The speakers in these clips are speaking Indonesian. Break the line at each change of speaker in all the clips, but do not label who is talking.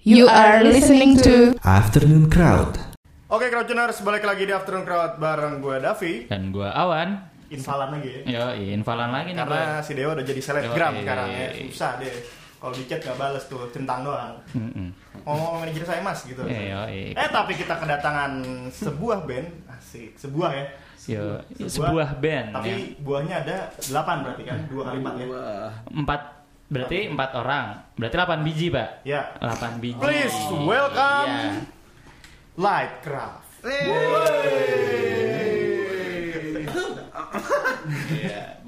You are listening to
Afternoon Crowd.
Oke Crowdtuners, balik lagi di Afternoon Crowd bareng gue Davi
dan gue Awan
Infalan lagi ya
yo iya, infalan lagi nih
Karena si Dewa udah jadi selebgram
ya. Yoi.
sekarang ya Susah deh Kalau di chat gak bales tuh, centang doang Ngomong manajer saya mas gitu
Iya, yoi.
Eh tapi kita kedatangan sebuah band Asik, sebuah ya
yo sebuah band
Tapi
ya.
buahnya ada 8 berarti kan, dua kali lipat ya
Eh,
empat berarti empat orang berarti 8 biji pak
Ya.
8 biji
Please welcome
Iya.
Lightcraft
Iya,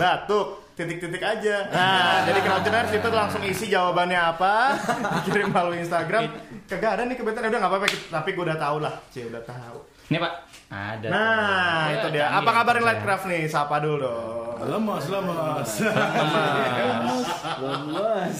batuk titik-titik aja nah jadi crowdtuners itu langsung isi jawabannya apa kirim melalui Instagram kagak ada nih kebetulan udah nggak apa-apa tapi gue udah tahu lah cie udah tahu
ini pak ada
nah itu dia apa kabar nih
ya.
Lightcraft nih sapa dulu dong
Lemas, lemas. lemas.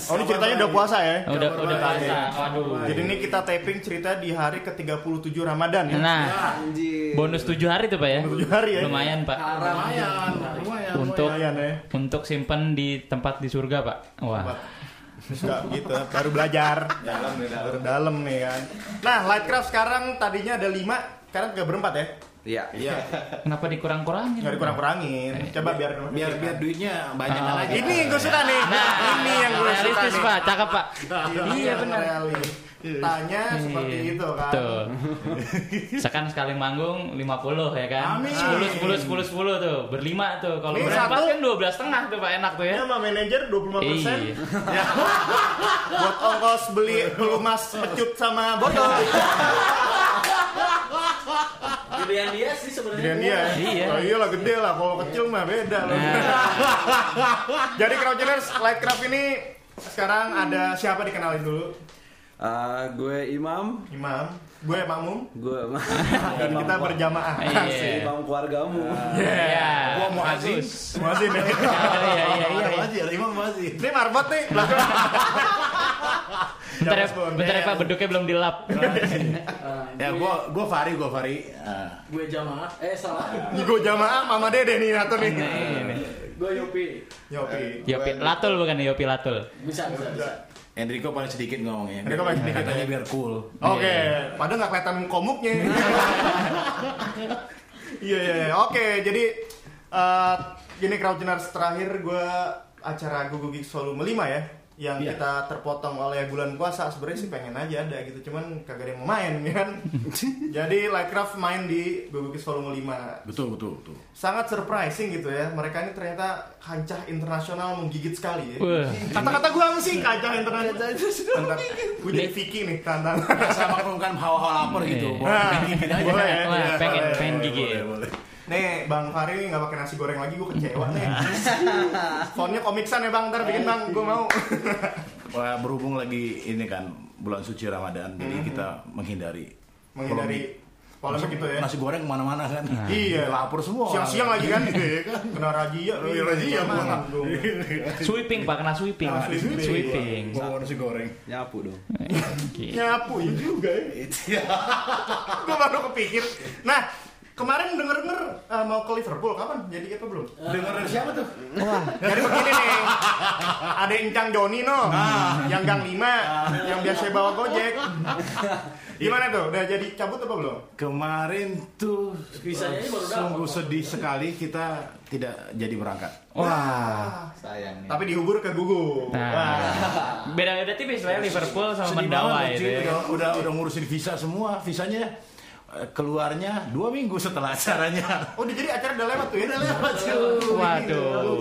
oh ini ceritanya udah puasa ya
Oh, udah udah puasa waduh
jadi ini kita taping cerita di hari ke-37 Ramadan ya
nah
Anjir.
bonus 7 hari tuh pak ya
Bonus tujuh hari ya.
lumayan pak
Lumayan, lumayan.
untuk
lumayan ya.
untuk simpen di tempat di surga pak wah
Enggak gitu, baru belajar. dalam nih, dalam. Baru dalam nih kan. Nah, Lightcraft sekarang tadinya ada 5, sekarang tinggal berempat ya.
Iya. Iya.
kenapa dikurang-kurangin
Enggak dikurang-kurangin. Coba biar
Biar biar duitnya
Eh,
banyak
Oh, Nah,
lagi.
Ini yang gue suka nih. ini yang gue suka
realistis
nih.
pak cakep pak
Iya benar. Tanya seperti
Iya,
itu kan.
Betul. Sekan sekali manggung 50 ya kan.
Amin.
10 10 10 10 tuh. Berlima tuh. Kalau
Ini
berempat
satu.
kan 12 setengah tuh Pak enak tuh
Ini
ya.
sama manajer 25 persen.
Iya.
Ya. Buat ongkos beli pelumas pecut sama botol.
Pilihan dia sih
Gedean
sebenarnya.
dia.
Iya.
Oh, iyalah gede lah. Kalau kecil mah beda loh. Jadi Crowdgeners Lightcraft ini sekarang ada siapa dikenalin dulu?
Eh, gue Imam,
Imam, gue makmum,
gue
dan kita berjamaah.
Iya.
Imam keluargamu.
Iya.
Gua mau azin. Muazin ya.
Iya iya iya. iya.
Masih, Imam masih.
Ini marbot nih. Lah.
Bentar ya,
Jangan
bentar ya
sebut.
Pak beduknya belum dilap.
Ya,
gue gue Fari, gue Fari.
gue jamaah. Eh salah. Iya,
Ini gue jamaah mama dede nih atau nih.
Gue Yopi.
Yopi.
Iya,
Yopi Latul bukan ya, Yopi Latul.
Bisa bisa bisa.
Enrico paling sedikit ngomongnya.
Enrico paling sedikit
Katanya iya, biar cool. Iya,
Oke, padahal nggak kelihatan komuknya. Iya iya. iya. Oke, jadi eh gini crowdgeners terakhir gue acara Gugu Geek Volume 5 ya yang
Iya.
kita terpotong oleh bulan puasa sebenarnya sih pengen aja ada gitu cuman kagak ada yang mau main ya kan jadi Lightcraft main di Gugu Geeks Volume 5
Betul, betul, betul.
sangat surprising gitu ya mereka ini ternyata kancah internasional menggigit sekali ya
Wah.
kata-kata gue sih kancah internasional Bentar, gue jadi Vicky nih tantang
Sama kerungkan hawa-hawa lapar gitu.
Iya.
Bawa
Nah,
dikit aja.
boleh ya?
Wah,
Iya, boleh,
pengen pengen
boleh,
gigi.
boleh, boleh. Nih, Bang Fahri nih nggak pakai nasi goreng lagi, gue kecewa nih. Fontnya komiksan ya Bang, ntar bikin Bang, gue mau.
Wah, berhubung lagi ini kan bulan suci Ramadan, jadi kita menghindari
Menghindari polemik gitu ya.
nasi goreng kemana-mana kan.
Iya.
lapar semua.
Siang-siang lagi kan, kena rajia. Iya,
razia, Bang.
Sweeping Pak kena sweeping.
Kena sweeping.
Sweeping.
Bawa nasi goreng.
Nyapu dong.
Gitu.
Nyapu ya juga ya.
Iya.
gue baru kepikir. Nah, kemarin denger-denger eh, mau ke Liverpool, kapan? Jadi apa belum?
Dengar Eh, dari siapa tuh?
Jadi begini nih, ada Incang Joni no,
Ah.
yang gang 5, yang biasa bawa gojek. Gimana tuh? Udah jadi cabut apa belum?
Kemarin tuh
Bisanya ini baru dapat.
sungguh sedih sekali kita tidak jadi berangkat.
Wah,
Sayang
Tapi dihubur ke gugu.
Nah.
Wah.
beda-beda tipis lah ya, Liverpool sama
Sedih
Mendawa
banget,
itu.
cuy.
ya.
Udah, udah udah ngurusin visa semua, visanya eh, keluarnya dua minggu setelah acaranya.
Oh, jadi acara udah lewat tuh ya? Udah lewat.
Waduh.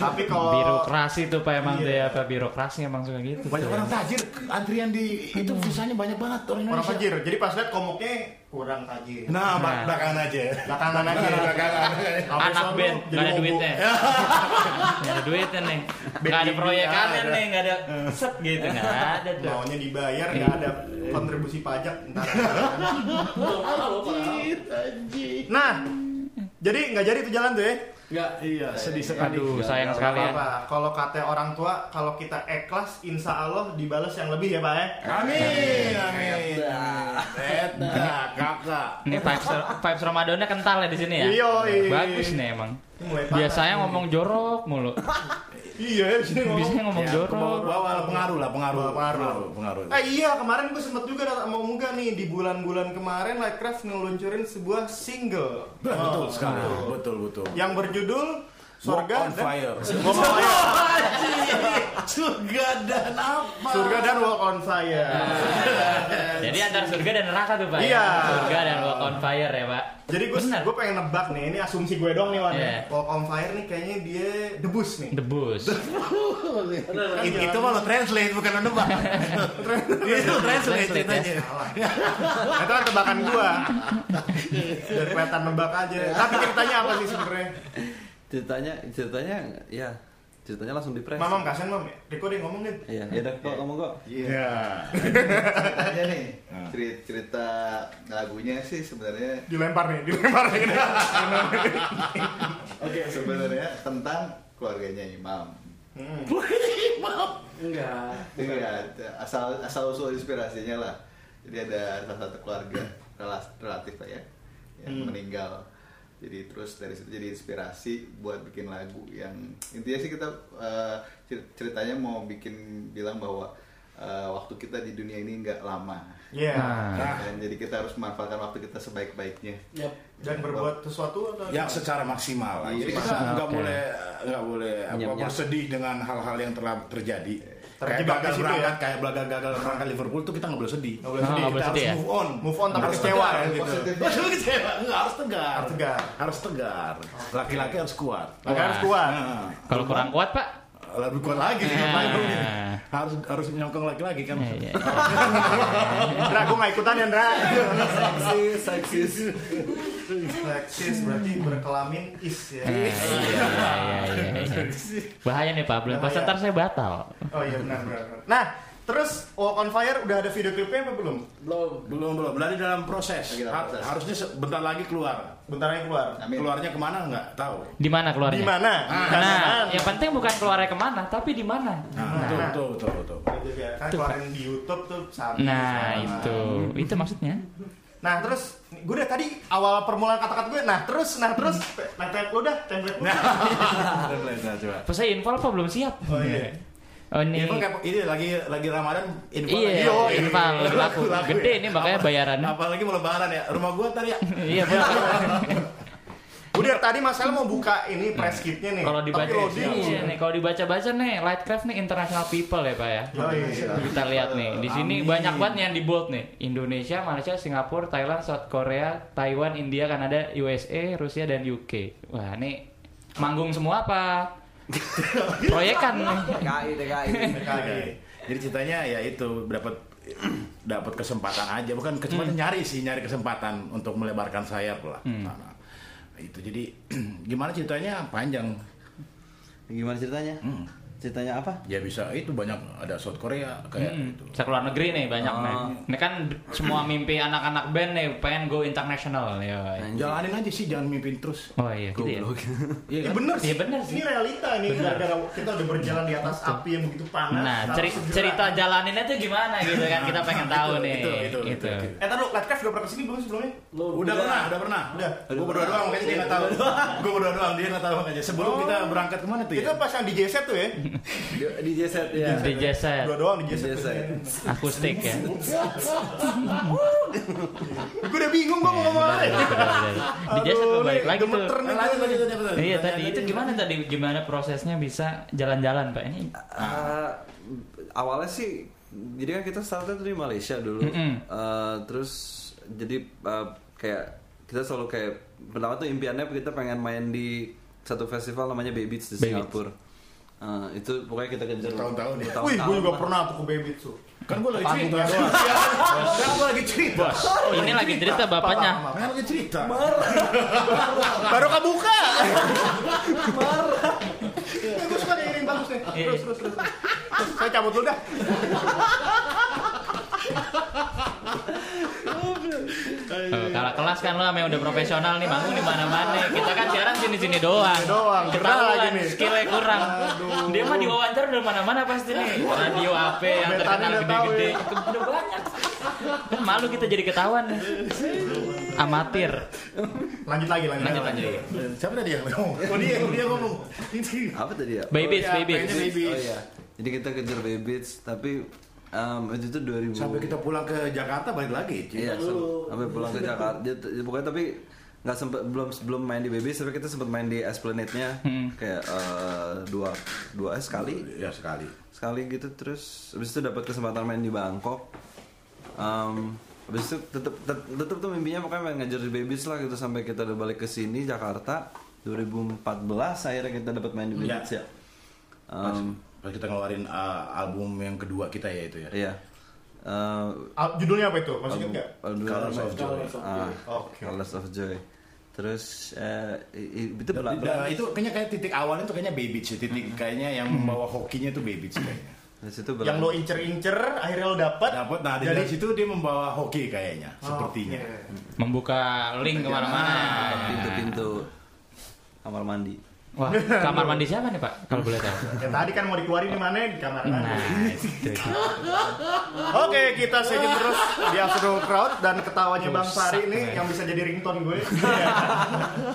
Tapi kalau
Birokrasi tuh Pak emang tuh ya, Pak birokrasi emang suka gitu.
Banyak orang tajir, antrian di itu visanya banyak banget orang
orang
Indonesia.
fajir, jadi pas lihat komoknya kurang tajir.
Nah, bak- belakangan aja.
Belakangan aja. Sampai
anak
sono
band
jadi
nggak ada
hobo.
duitnya nggak ada duitnya neng nggak ada
Band nggak
proyekannya
ada.
neng nggak ada set gitu nggak ada tuh
Maunya dibayar, nggak ada kontribusi pajak. Ntar.
Belum apa lo Pak?
Nah, jadi nggak jadi itu jalan tuh ya?
Enggak.
Iya, sedih sekali.
aduh sayang
Nggak
sekali ya
apa-apa. Kalau kata orang tua, kalau kita ikhlas, insya Allah dibalas yang lebih ya Pak ya. Iya.
Amin, amin. Eta, kakak.
ini vibes vibes Ramadannya kental ya di sini ya
Yoi.
bagus nih emang
Ini mulai panas
Biasanya
nih.
ngomong jorok mulu.
Iya, sini
Biasanya
ngomong.
ngomong
Ya, ke
jorok.
bawah- bawah pengaruh lah, pengaruh.
Bawah pengaruh.
pengaruh.
Eh iya, kemarin gue sempet juga datang mau muga nih di bulan-bulan kemarin Lightcraft ngeluncurin sebuah single.
Betul, Nah, betul sekali.
betul.
Betul, betul.
Yang berjudul
Surga
Surga
on
dan
fire.
Walk on Fire.
Surga dan apa?
Surga dan Walk on Fire.
Jadi antara surga dan neraka tuh, Pak. ya?
Iya.
Surga dan walk on fire ya, Pak.
Jadi gue
Bener.
gue pengen nebak nih, ini asumsi gue dong nih Wan.
Iya.
Walk on Fire nih kayaknya dia debus nih.
Debus.
Bener-bener.
It- itu mah lo translate bukan lo nebak. itu translate ya. ceritanya.
Nah, itu kan tebakan gua. Biar kelihatan nebak aja. Tapi ceritanya apa sih sebenarnya?
ceritanya ceritanya ya ceritanya langsung di press
Mamam kasihan mam, Riko deh ngomong deh.
iya ya udah kok kamu kok
Iya. Ceritanya nih. Cerita, cerita lagunya sih sebenarnya
Dilempar nih, dilempar nih.
sebenarnya tentang keluarganya Imam.
Hmm.
Enggak.
Iya, asal asal usul inspirasinya lah. Jadi ada salah satu keluarga relas- relatif lah ya yang meninggal. Jadi terus dari situ jadi inspirasi buat bikin lagu yang intinya sih kita eh, cer- ceritanya mau bikin bilang bahwa eh, waktu kita di dunia ini nggak lama.
Iya.
Nah.
Dan jadi kita harus memanfaatkan waktu kita sebaik-baiknya.
ya.
Yap.
Dan berbuat sesuatu atau
yang secara maksimal lah.
Iya,
Jadi kita
maksimal,
nggak
oke.
boleh nggak boleh apa
Nyap-nyap.
bersedih dengan hal-hal yang telah terjadi. Kayak
Terjebak di
gagal
situ
berangkat,
ya.
kayak gagal gagal berangkat Liverpool tuh kita nggak boleh sedih.
Nggak boleh
Oh,
sedih.
nggak boleh
Kita harus
sedih ya?
move on.
Move on tapi
Harus
kecewa
tegar,
gitu.
Positifnya.
Maksudnya kecewa, nggak harus tegar.
Harus tegar.
Harus tegar. Laki-laki harus kuat.
Maka harus kuat.
Nah,
Kalau kurang kuat, Pak.
lebih kuat lagi sih,
Nah.
maksudnya. harus harus nyongkong laki-laki kan.
Iya, iya.
Indra, gue nggak ikutan ya, Indra.
seksis seksis
Seksis berarti berkelamin is ya.
Iya, iya, iya, iya. Bahaya nih, Pak. Belum pas
Bahaya.
ntar saya batal.
Oh iya benar benar. benar. Nah, terus Walk on Fire udah ada video klipnya apa belum?
Belum.
Belum belum, berarti dalam proses.
Lagi dalam
Har-
proses.
Harusnya se- bentar lagi keluar.
Bentar lagi keluar.
Amin.
Keluarnya kemana nggak tahu.
Di mana keluarnya?
Di mana?
Nah, yang penting bukan keluarnya kemana, tapi di mana.
Nah, Iya. betul, betul betul betul.
Kan keluarin di YouTube tuh sambil
Nah,
sama.
itu. Itu maksudnya.
Nah, terus gue udah tadi awal permulaan kata-kata gue. Nah, terus nah terus
Hmm.
nah template lu dah, template lu.
Nah, coba.
Pas saya info apa belum siap?
Oh iya.
Oh, ini.
Info kayak ini lagi lagi Ramadan info
Iya,
lagi. Yoi.
info lebih laku. Gede nih makanya bayarannya.
Nah,
Apalagi mau lebaran ya. Rumah gua tadi ya.
Iya, benar.
Udah tadi Mas El mau buka ini press kitnya nih.
Nah, Kalau dibaca
Tapi loading.
iya nih, kalau dibaca-baca nih, Lightcraft nih international people ya, Pak ya.
Oh, iya.
Kita lihat nih, di sini
Amin.
banyak banget nih yang di bold nih. Indonesia, Malaysia, Singapura, Thailand, South Korea, Taiwan, India, Kanada, USA, Rusia dan UK. Wah, nih manggung semua apa? Proyekan nih.
TKI TKI
DKI.
gitu. Jadi ceritanya ya itu dapat dapat kesempatan aja bukan kesempatan nyari sih nyari kesempatan untuk melebarkan sayap lah Nah, nah. itu jadi gimana ceritanya panjang
gimana ceritanya ceritanya apa
ya bisa itu banyak ada South Korea kayak gitu
Bisa keluar negeri nih banyak nih.
Oh.
Ini kan semua mimpi anak-anak band nih pengen go international ya.
gitu. jalanin aja sih jangan mimpin terus
Oh iya, gitu ya.
goblok
Ini
Iya kan?
bener sih.
Iya, bener sih.
Ini realita nih gara-gara kita udah berjalan di atas api yang begitu panas.
Nah,
harus
ceri-
segera.
cerita jalaninnya tuh gimana gitu kan kita pengen tahu
Itu,
nih.
itu, itu,
gitu.
itu.
Eh, taruh Lightcraft udah pernah kesini belum sebelumnya?
Belum.
Udah pernah, udah pernah.
Udah.
Gue berdua doang, makanya dia nggak tahu. Gue berdua doang, dia nggak tahu makanya. Sebelum
Oh.
kita berangkat kemana tuh ya?
Kita pas yang DJ set tuh ya.
Eh.
di, di JZ ya
Di jaset
Iya. Dua doang DJ
DJ
set.
set.
akustik ya.
Gue udah bingung gue mau ngomong apa. ya.
Iya, Di jaset
Aduh,
tuh balik
nih,
lagi tuh.
gemeter nih.
Lanjut, lanjut, lanjut, lanjut.
Iya tadi itu gimana tadi gimana prosesnya bisa jalan-jalan Pak ini?
Eh, awalnya sih jadi kan kita startnya tuh di Malaysia dulu
Mm-mm.
Eh, terus jadi eh, kayak kita selalu kayak pertama tuh impiannya kita pengen main di satu festival namanya Baby Beats di
Bay Beats.
Singapura Eh, itu pokoknya kita kejar
Bertahun-tahun ya.
bertahun-tahun
Wih, gue juga
lah.
pernah tuh ke Baby tuh.
Kan gue lagi
Panggung
cerita
doang.
doang. Kan gue lagi cerita.
Oh, ini lagi cerita bapaknya.
Kan lagi cerita.
Baru kebuka. Marah. Gue suka dengerin bagus nih.
Iya.
Terus, terus, terus. Terus, Saya cabut dulu dah.
Oh, kalau kelas kan lo sama yang udah profesional nih manggung di mana-mana. Kita kan siaran sini-sini doang.
doang, gerah lagi
Ketahuan
nih.
skillnya kurang. Dia mah diwawancara udah mana-mana pasti nih. Radio AP yang
Betanya
terkenal
udah tahu
gede-gede.
ya.
Itu Udah banyak. Kan malu kita jadi ketahuan nih. amatir.
Lanjut lagi, lanjut,
Lanjut, lanjut.
Siapa tadi yang ngomong? Oh dia, dia ngomong. Ini.
apa tadi ya
Babies,
Oh, iya,
babies.
pengennya babies.
oh iya jadi kita kejar babies tapi em, itu tuh 2000
Sampai kita pulang ke Jakarta balik lagi. cuy.
Iya, sam- sampai pulang ke Jakarta. Dia, dia- pokoknya tapi nggak sempet belum belum main di baby tapi kita sempet main di Esplanade-nya kayak eh, dua dua eh, sekali
Ya sekali.
sekali gitu terus habis itu dapat kesempatan main di Bangkok Em, habis itu tetep tet- tetep tuh mimpinya pokoknya main ngajar di babies lah gitu sampai kita udah balik ke sini Jakarta 2014 akhirnya kita dapat main di babies ya Em,
Pas kita ngeluarin uh, album yang kedua kita ya itu ya.
iya Eh,
Al- Ah, judulnya apa itu? Masih ingat nggak?
Album-
Colours
album-
of Joy.
Ah,
Oke.
Colours of Joy. Terus eh, i- i- itu
Dan,
bela-
Nah,
dan itu kayaknya kayak titik awalnya tuh kayaknya baby sih. Titik kayaknya yang membawa hokinya tuh baby sih kayaknya.
dari situ bela-
nah, Yang lo incer-incer, akhirnya lo dapat.
Dapat nah dari,
Jadi- Ah,
situ dia membawa hoki kayaknya sepertinya.
Membuka link kemana-mana.
pintu-pintu kamar mandi.
Wah, kamar mandi siapa nih Pak? Kalau boleh tahu.
Ya tadi kan mau dikeluarin di mana? Di kamar mandi.
Nah, itu.
Oke, kita segmen terus di Astro Crowd dan ketawanya Bang Fari ini yang bisa jadi ringtone gue.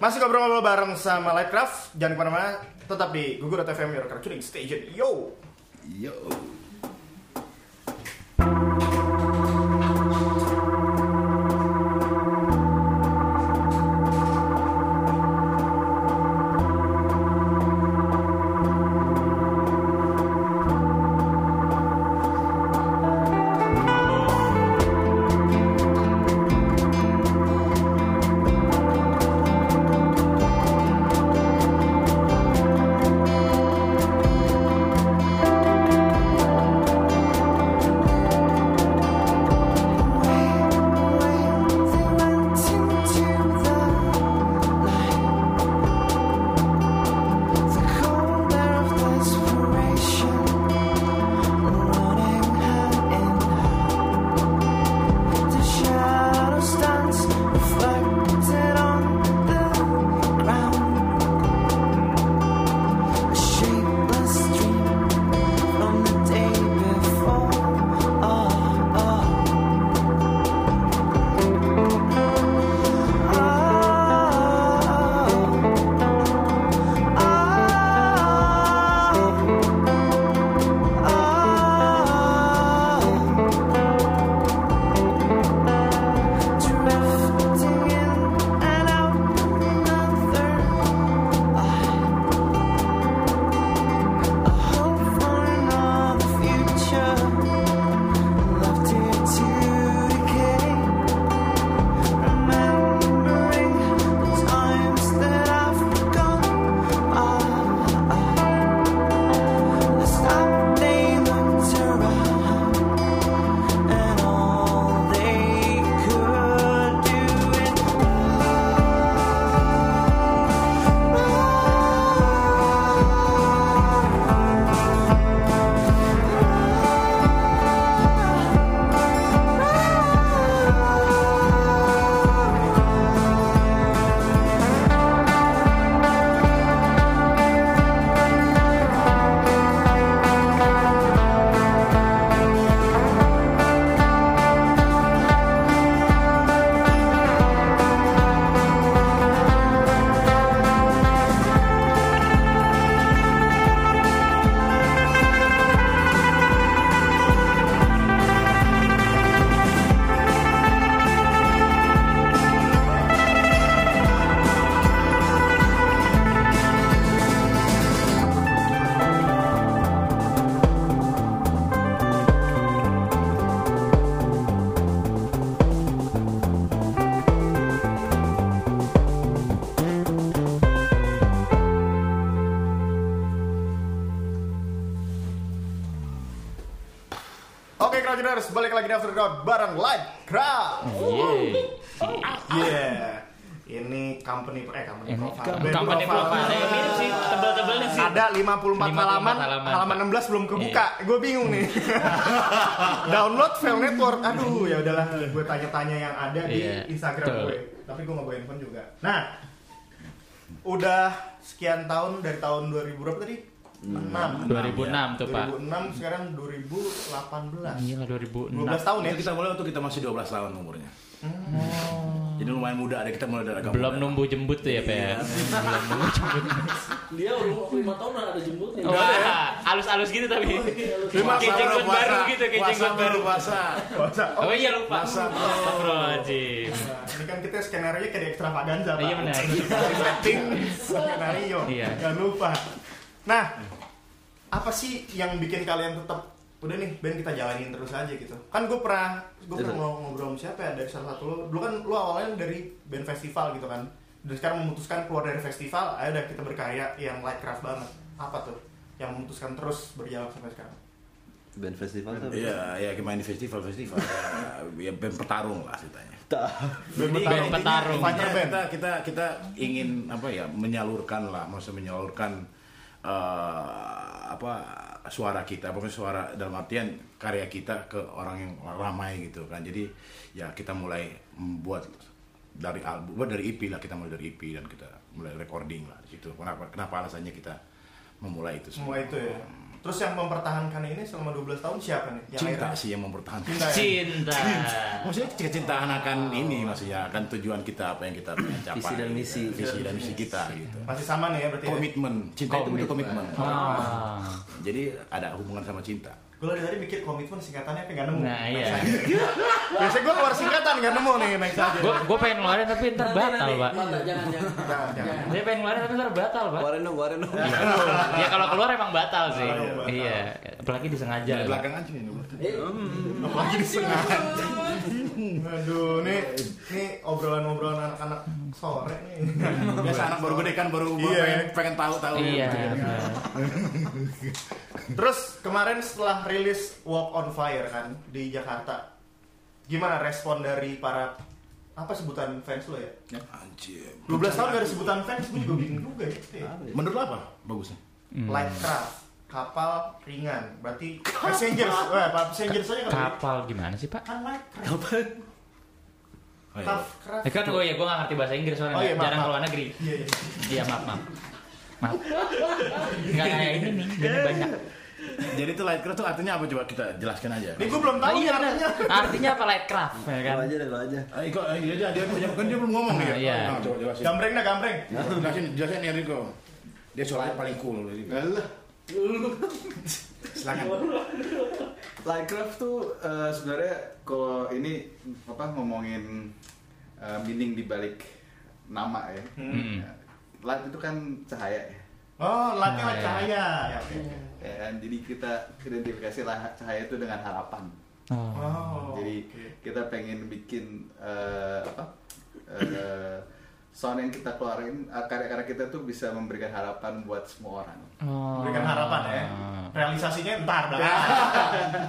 Masih ngobrol-ngobrol bareng sama Lightcraft, jangan kemana-mana, tetap di Gugur FM Your Cartooning Station. Yo!
Yo.
Oh,
Oke, Crowdiners, balik lagi di After Crowd bareng Lightcraft.
Yeay.
Yeah. Ini company eh company
Ini
profile.
kam-
Band
company profile yang mirip sih, tebel-tebelnya sih.
Ada 54
54
halaman,
halaman, Iya.
halaman
Pak.
16 belum kebuka. Gue bingung nih. Download file network. Aduh, ya udahlah. Gue tanya-tanya yang ada di
Iya,
Instagram
betul.
gue. Tapi gue nggak bawa handphone juga. Nah, udah sekian tahun dari tahun 2000 berapa tadi? 2006
2006 tuh, Pak. Iya.
2006 sekarang 2018
Gila 2006.
12 tahun ya
Itu kita mulai waktu kita masih 12 tahun umurnya.
Hmm.
Jadi lumayan muda deh kita mulai dari agak
Belum
muda.
numbuh jembut tuh ya, Pak. ya? Belum numbuh jembut.
Dia umur lima tahun udah ada jembutnya.
Wah, halus-halus gitu tapi.
Puasa,
Kayak jenggot
puasa.
baru gitu, kayak
Puasa,
jenggot baru.
Puasa.
Oh iya lupa.
Puasa.
Astagfirullahaladzim.
Nah, ini kan kita skenario nya kayak di extravaganza Pak.
Iya, benar.
Setting skenario.
Iya.
Jangan lupa. Nah, apa sih yang bikin kalian tetap udah nih band kita jalanin terus aja gitu kan gue pernah gue
Betul.
pernah ngobrol, ngobrol sama siapa ya dari salah satu lo dulu kan lo awalnya dari band festival gitu kan dan sekarang memutuskan keluar dari festival ayo udah kita berkarya yang lightcraft banget apa tuh yang memutuskan terus berjalan sampai sekarang
Band festival tuh. apa?
Iya, ya kayak main di festival-festival. ya band petarung lah ceritanya.
band
band petarung.
fighter band
kita kita kita ingin apa ya menyalurkan lah maksudnya menyalurkan eh, apa suara kita pokoknya suara dalam artian karya kita ke orang yang ramai gitu kan jadi ya kita mulai membuat dari album buat dari EP lah kita mulai dari EP dan kita mulai recording lah di situ kenapa kenapa alasannya kita memulai itu
semua
semua
itu ya terus yang mempertahankan ini selama 12 tahun siapa nih yang
cinta
akhirnya-
sih yang mempertahankan
cinta ya?
Cinta.
Maksudnya kecintaan akan ini maksudnya akan tujuan kita apa yang kita pengen capai.
Visi dan
gitu.
misi.
visi dan misi kita gitu.
masih sama nih ya berarti ya?
Komitmen, cinta itu butuh komitmen.
Ah.
Jadi ada hubungan sama cinta.
Gue dari tadi mikir komitmen singkatannya apa nggak nemu.
Nah, iya.
Biasanya gue keluar singkatan nggak nemu nih naik saja.
Gue gue pengen ngeluarin tapi ntar batal, Pak.
Mata, jangan jangan.
Jangan, jangan.
Saya pengen ngeluarin tapi ntar batal, Pak.
Keluarin dong, keluarin dong.
Iya,
Ya kalau keluar emang batal sih.
Kalau batal.
Iya, apalagi disengaja.
Dari belakang aja ini. Bu.
Apalagi di sengaja. Aduh, nih nih obrolan-obrolan anak-anak sore nih.
Biasa anak baru gede kan baru
Iya.
pengen, pengen tahu tahu.
Iya.
Terus kemarin setelah rilis Walk on Fire kan di Jakarta, gimana respon dari para apa sebutan fans lo ya?
Anjir.
12 tahun gak ada sebutan fans, gue juga bingung juga ya.
Menurut lo apa bagusnya?
Hmm.
Lightcraft, kapal ringan, berarti passengers, eh, passengers aja kali. ya.
Kapal gimana sih, Pak?
Kan lightcraft.
Oh, iya.
Tough craft.
Eh kan gue ya gue gak ngerti bahasa Inggris soalnya
Oh, iya, maaf,
jarang
maaf.
keluar negeri.
Iya, iya.
Iya maaf maaf. Maaf. Gak kayak ini nih, gini banyak.
Jadi itu lightcraft tuh artinya apa coba kita jelaskan aja.
Ini gue belum tahu
iya,
nih
bener.
artinya.
Artinya apa lightcraft ya kan?
Lo aja deh, lo aja.
Eh, kok eh, dia aja dia punya kan dia belum ngomong
Ah,
ya.
iya.
Nah, coba jelasin.
Gambreng dah gambreng.
Jelasin jelasin Enrico. Dia soalnya paling cool. Silakan.
Lightcraft tuh eh, sebenarnya kalau ini apa ngomongin eh, meaning di balik nama ya.
Hmm.
Ya, Light itu kan cahaya ya.
Oh, latih
Ah,
lah
iya.
cahaya. Ya, oke, oke.
Ya kan? Jadi kita identifikasi lah cahaya itu dengan harapan.
Oh.
Oh.
Jadi
oke.
kita pengen bikin eh, apa? eh, sound yang kita keluarin eh, karya-karya kita tuh bisa memberikan harapan buat semua orang.
Oh.
Berikan harapan ya. Realisasinya entar dah.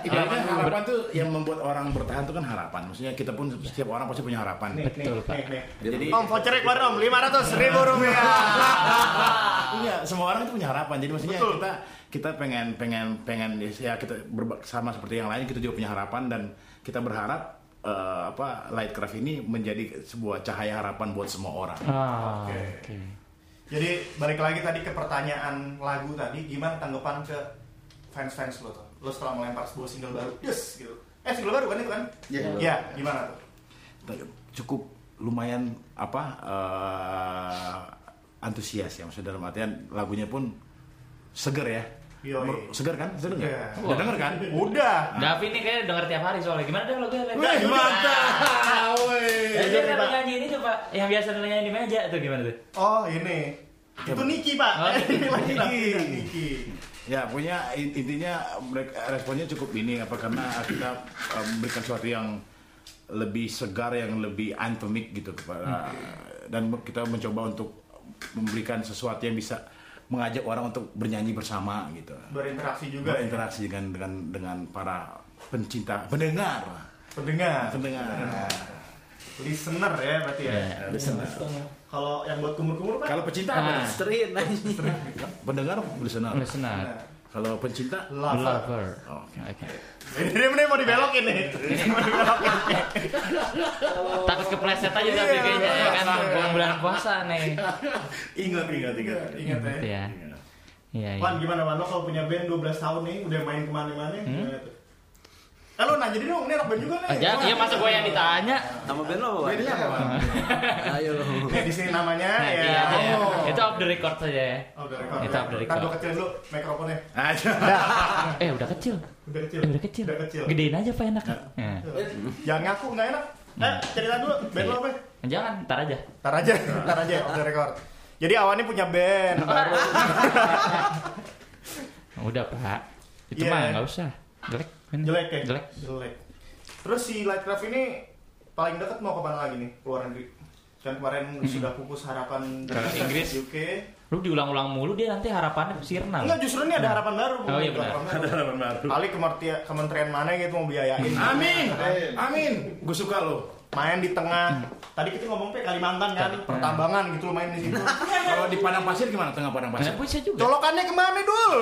Ibaratnya Nah, kan harapan tuh yang membuat orang bertahan tuh kan harapan. Maksudnya kita pun setiap orang pasti punya harapan.
Nih, nih,
Betul, Pak. Iya.
nih, nih.
Jadi
Om vouchernya keluar om, 500 ribu rupiah.
punya semua orang itu punya harapan. Jadi maksudnya
Betul.
kita kita pengen pengen pengen ya kita berba- sama seperti yang lain kita juga punya harapan dan kita berharap eh, apa Lightcraft ini menjadi sebuah cahaya harapan buat semua orang.
Ah,
Oke.
Oke.
Jadi balik lagi tadi ke pertanyaan lagu tadi, gimana tanggapan ke fans-fans lo tuh? Lo setelah melempar sebuah single baru, yes gitu. Eh single baru kan itu kan?
Iya, single
Iya,
baru.
gimana tuh?
cukup lumayan apa eh, antusias ya maksudnya dalam artian lagunya pun seger ya
Yoi.
Mer- seger kan seger nggak
Iya.
udah denger kan
Udah.
Davi ini kayaknya denger tiap hari soalnya gimana deh lo gue
Wih,
Ah,
mantap weh.
Iya,
Jadi kenapa nyanyi kan ini coba yang biasa lo nyanyi di meja tuh gimana tuh?
Oh ini. Itu Niki pak.
Oh, Niki.
Ini lagi Niki.
ya punya intinya mereka responnya cukup ini apa karena kita eh, memberikan sesuatu yang lebih segar yang lebih anthemic gitu kepada dan kita mencoba untuk memberikan sesuatu yang bisa mengajak orang untuk bernyanyi bersama gitu
Berinteraksi juga. ya.
berinteraksi dengan dengan dengan para pencinta pendengar
Pendengar.
pendengar
listener ya berarti ya.
Iya,
Kalau yang buat kumur-kumur kan
kalau pecinta apa?
Nah,
Terin
pendengar listener
listener,
kalau pencinta
lover.
lover.
Oke.
Oke.
Ini ini mau dibelokin nih.
Takut kepleset aja
Iya,
tapi kayaknya ya kan
iya.
bulan-bulan puasa nih.
ingat ingat
Ingat ya.
Gitu ya. Iya, iya.
Wan gimana Wan lo kalau punya band 12 tahun nih udah main kemana-mana
Hmm?
gimana tuh? Eh lo nanya dulu dong, ini anak band juga nih.
Aja,
Wan.
iya masa gue yang ditanya.
Nama band lo apa? Wan?
Bedanya apa?
Ayo lo.
Nih di sini namanya
Nah,
ya.
iya, iya.
Oh.
Itu off the record saja ya.
Oh, udah rekam.
Itu udah rekam.
Ntar gua kecil dulu mikrofonnya.
Eh udah kecil.
Udah kecil.
Eh, udah kecil.
Iya, Udah kecil. Iya.
Gedein aja pak enak. Nah.
Tuh. Jangan Ya, ngaku nggak enak. Eh, cerita dulu band lo apa?
Jangan, ntar aja.
Ntar aja, ntar aja off the record. Jadi awannya punya band baru.
Udah pak. Itu
Iya.
mah nggak usah. Jelek. Ini.
Jelek ya?
Jelek.
Jelek. Terus si Lightcraft ini paling dekat mau kemana lagi nih? Keluar negeri. Kan kemarin sudah pupus harapan
Hmm. Ke Inggris.
UK.
Lu diulang-ulang mulu dia nanti harapannya sirna.
Enggak, justru ini ada harapan baru. bukan
Oh, iya,
harapan
Ada
baru.
harapan baru.
Kali kemertia- kementerian mana gitu mau biayain.
Amin. Amin. Gue suka lo.
Main di tengah.
Hmm.
Tadi kita ngomong pe Kalimantan kan, pertambangan gitu lo main di situ.
Kalau di padang pasir gimana tengah padang pasir?
Nggak bisa juga.
Colokannya kemana dul?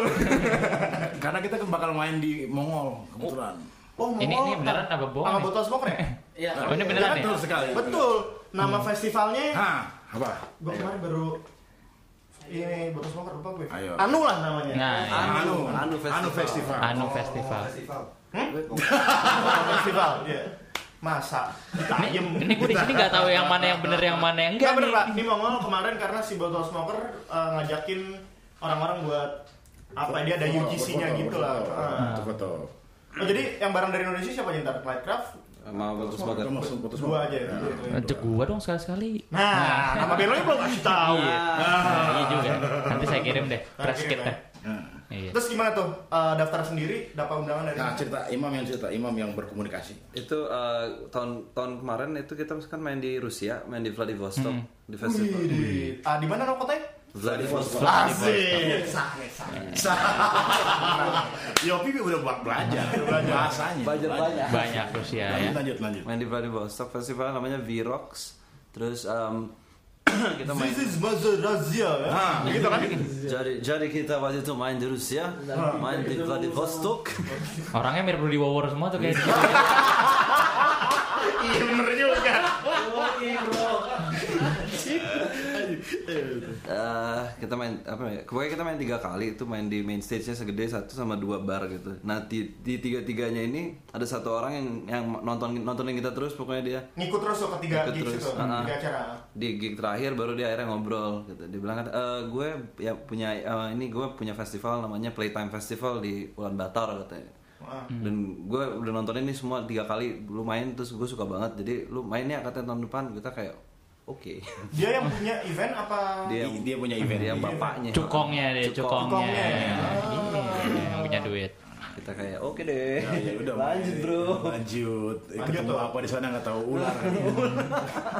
Karena kita kan bakal main di Mongol kebetulan.
Oh,
Ini-
Mongol,
ini beneran
tak-
apa bohong
Sama
nih?
botol smoke ya? kan?
Iya.
Oh, ini beneran Hmm. ya?
Betul sekali.
Betul. Nama festivalnya
Hah, apa?
gue kemarin baru ini botol smoker lupa gue.
Ayo.
Anu lah namanya.
Nah, iya.
Anu,
Anu Festival.
Anu Festival.
Anu
Oh,
Festival.
Botol Anu festival dia. Masa
Ini,
ditayem.
ini gue di sini nggak tahu yang mana yang bener yang mana yang
Enggak bener
enggak. nih.
pak. Ini Mongol kemarin karena si botol smoker eh, ngajakin orang-orang buat apa dia ada UGC-nya
Foto,
gitu
foto,
lah. Ah.
Foto, foto.
Oh, jadi yang barang dari Indonesia siapa aja ntar? Lightcraft
Mau bagus banget.
Foto, foto, foto.
dua aja. ya?
Iya.
Ajak gua dong sekali-sekali.
Nah, nama belonya belum kasih tahu.
Nah, iya juga. Nanti saya kirim deh. Press
kirim
kit
ya.
deh. Iya.
Terus gimana tuh eh, daftar sendiri dapat undangan dari
Nah, cerita imam yang cerita imam yang berkomunikasi.
Itu eh, tahun tahun kemarin itu kita kan main di Rusia, main di Vladivostok
Hmm.
di festival.
Wih, ah, di mana nama kotanya?
Vladivostok.
Asik. Sah nih, sah.
Yopi udah buat belajar, bahasanya.
Belajar banyak.
Banyak Rusia ya.
Lanjut, lanjut, lanjut.
Main di Vladivostok festival namanya Virox. Terus em, kita main
This is Mazda Razia ya?
Nah.
Gitu kan?
jadi jadi kita waktu itu main di Rusia,
Nah,
main di Vladivostok.
Orangnya mirip Rudy Wawer semua tuh gitu. kayaknya.
Iya bener juga
eh kita main apa ya? Pokoknya kita main tiga kali itu main di main stage-nya segede satu sama dua bar gitu. Nah di, di tiga tiganya ini ada satu orang yang yang nonton nontonin kita terus pokoknya dia
Ngikut terus tuh ketiga
Ikut
gigs
terus,
itu
ah.
Tiga acara
di gig terakhir baru dia akhirnya ngobrol gitu. Dia bilang kan "Eh, gue ya punya eh, ini gue punya festival namanya Playtime Festival di Ulan Bator katanya.
Wah.
Hmm.
Dan gue udah nonton ini semua tiga kali lu main terus gue suka banget. Jadi lu mainnya katanya tahun depan kita kayak oke.
Dia yang punya event apa?
Dia
Dia- dia punya event.
Dia bapaknya.
Iya, Cukongnya deh,
Cukong.
cukongnya.
Cukongnya.
Iya, yang punya duit.
kita kayak oke deh
Ya, ya udah
lanjut bro
Lanjut. Eh,
Lanjut,
Ketemu
Bro.
apa di sana nggak tahu ular. kali.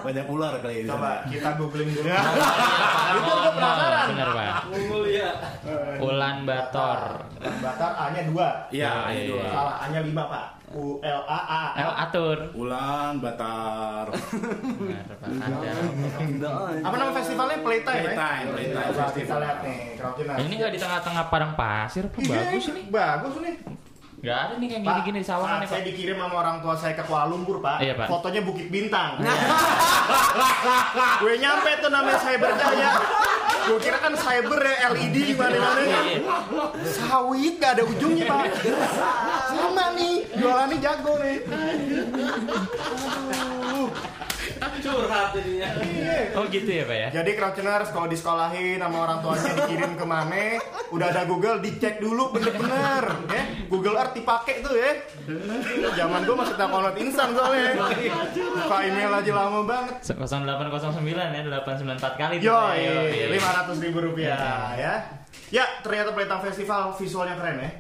Banyak ular kali ya di sana.
Coba kita googling dulu
Itu
Ah, gua penasaran.
Bener pak. Ulan Bator.
Batar A-nya dua
Iya, ada dua.
Salah A-nya lima pak U L A A
El atur.
Ulan, Batar,
Bener, Pak. Ada.
Apa nama festivalnya? Playtime ya?
Playtime, Playtime
Coba kita
Festival.
lihat nih Crowdiness
Ini nggak di tengah-tengah padang pasir, Pak. bagus ini.
Bagus Iya, nih
Nggak ada nih kayak
Pak,
gini-gini di sawangan
saat
nih, Pak.
saya dikirim sama orang tua saya ke Kuala Lumpur, Pak.
Iya, Pak. Iya.
Fotonya Bukit Bintang. Gue nyampe tuh namanya cyber jaya. Gue kira kan cyber ya LED
Iya,
gimana-mana. Sawit gak ada ujungnya, Pak. Sama nih, jualannya jago nih.
Curhat jadinya.
Oh gitu ya, Pak ya.
Jadi Crowdtuners kalau disekolahin sama orang tuanya dikirim ke mana, udah ada Google dicek dulu bener-bener, ya. Google Earth dipakai tuh ya. Zaman gua masih teleponan instan soalnya. Buka email aja lama banget.
0809 ya, 894 kali. tuh, Pak. ya. Iya.
Yoi,
Yoi.
lima ratus ribu rupiah ya. Ya, ternyata Pelitang Festival visualnya keren ya.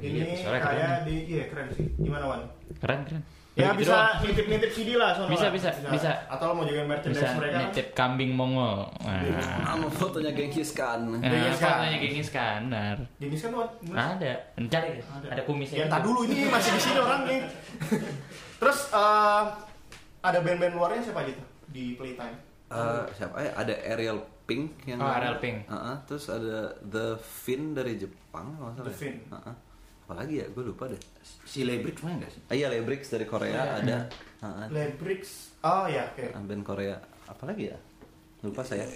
Iya,
Ini
visualnya keren
kayak di, iya keren sih. Gimana Wan?
Keren, keren.
Ya
Gitu doang.
bisa nitip-nitip CD lah soalnya.
Bisa, bisa, bisa.
Atau lo mau juga
bisa
merchandise mereka? Iya.
nitip kambing Mongol. Nah,
sama fotonya kan. Genghis Khan
nah
Genghis Khan.
fotonya Genghis Khan, benar.
Jenis kan Wan?
Ada, cari deh. ada kumisnya. gitu.
Ya tak dulu ini masih di sini orang nih. Terus eh, ada band-band luarnya siapa aja tuh di Playtime?
Eh, siapa ya ada Ariel Pink yang
Oh, Ariel Pink.
Heeh, terus ada The Fin dari Jepang kalau nggak salah ya.
The Fin.
Heeh. apalagi ya gue lupa deh
si Lebrik main nggak sih?
ah, iya Lebrix dari
Iya.
Korea ada Heeh.
Lebrix. Oh ya, oke.
band Korea apalagi ya Lupa saya.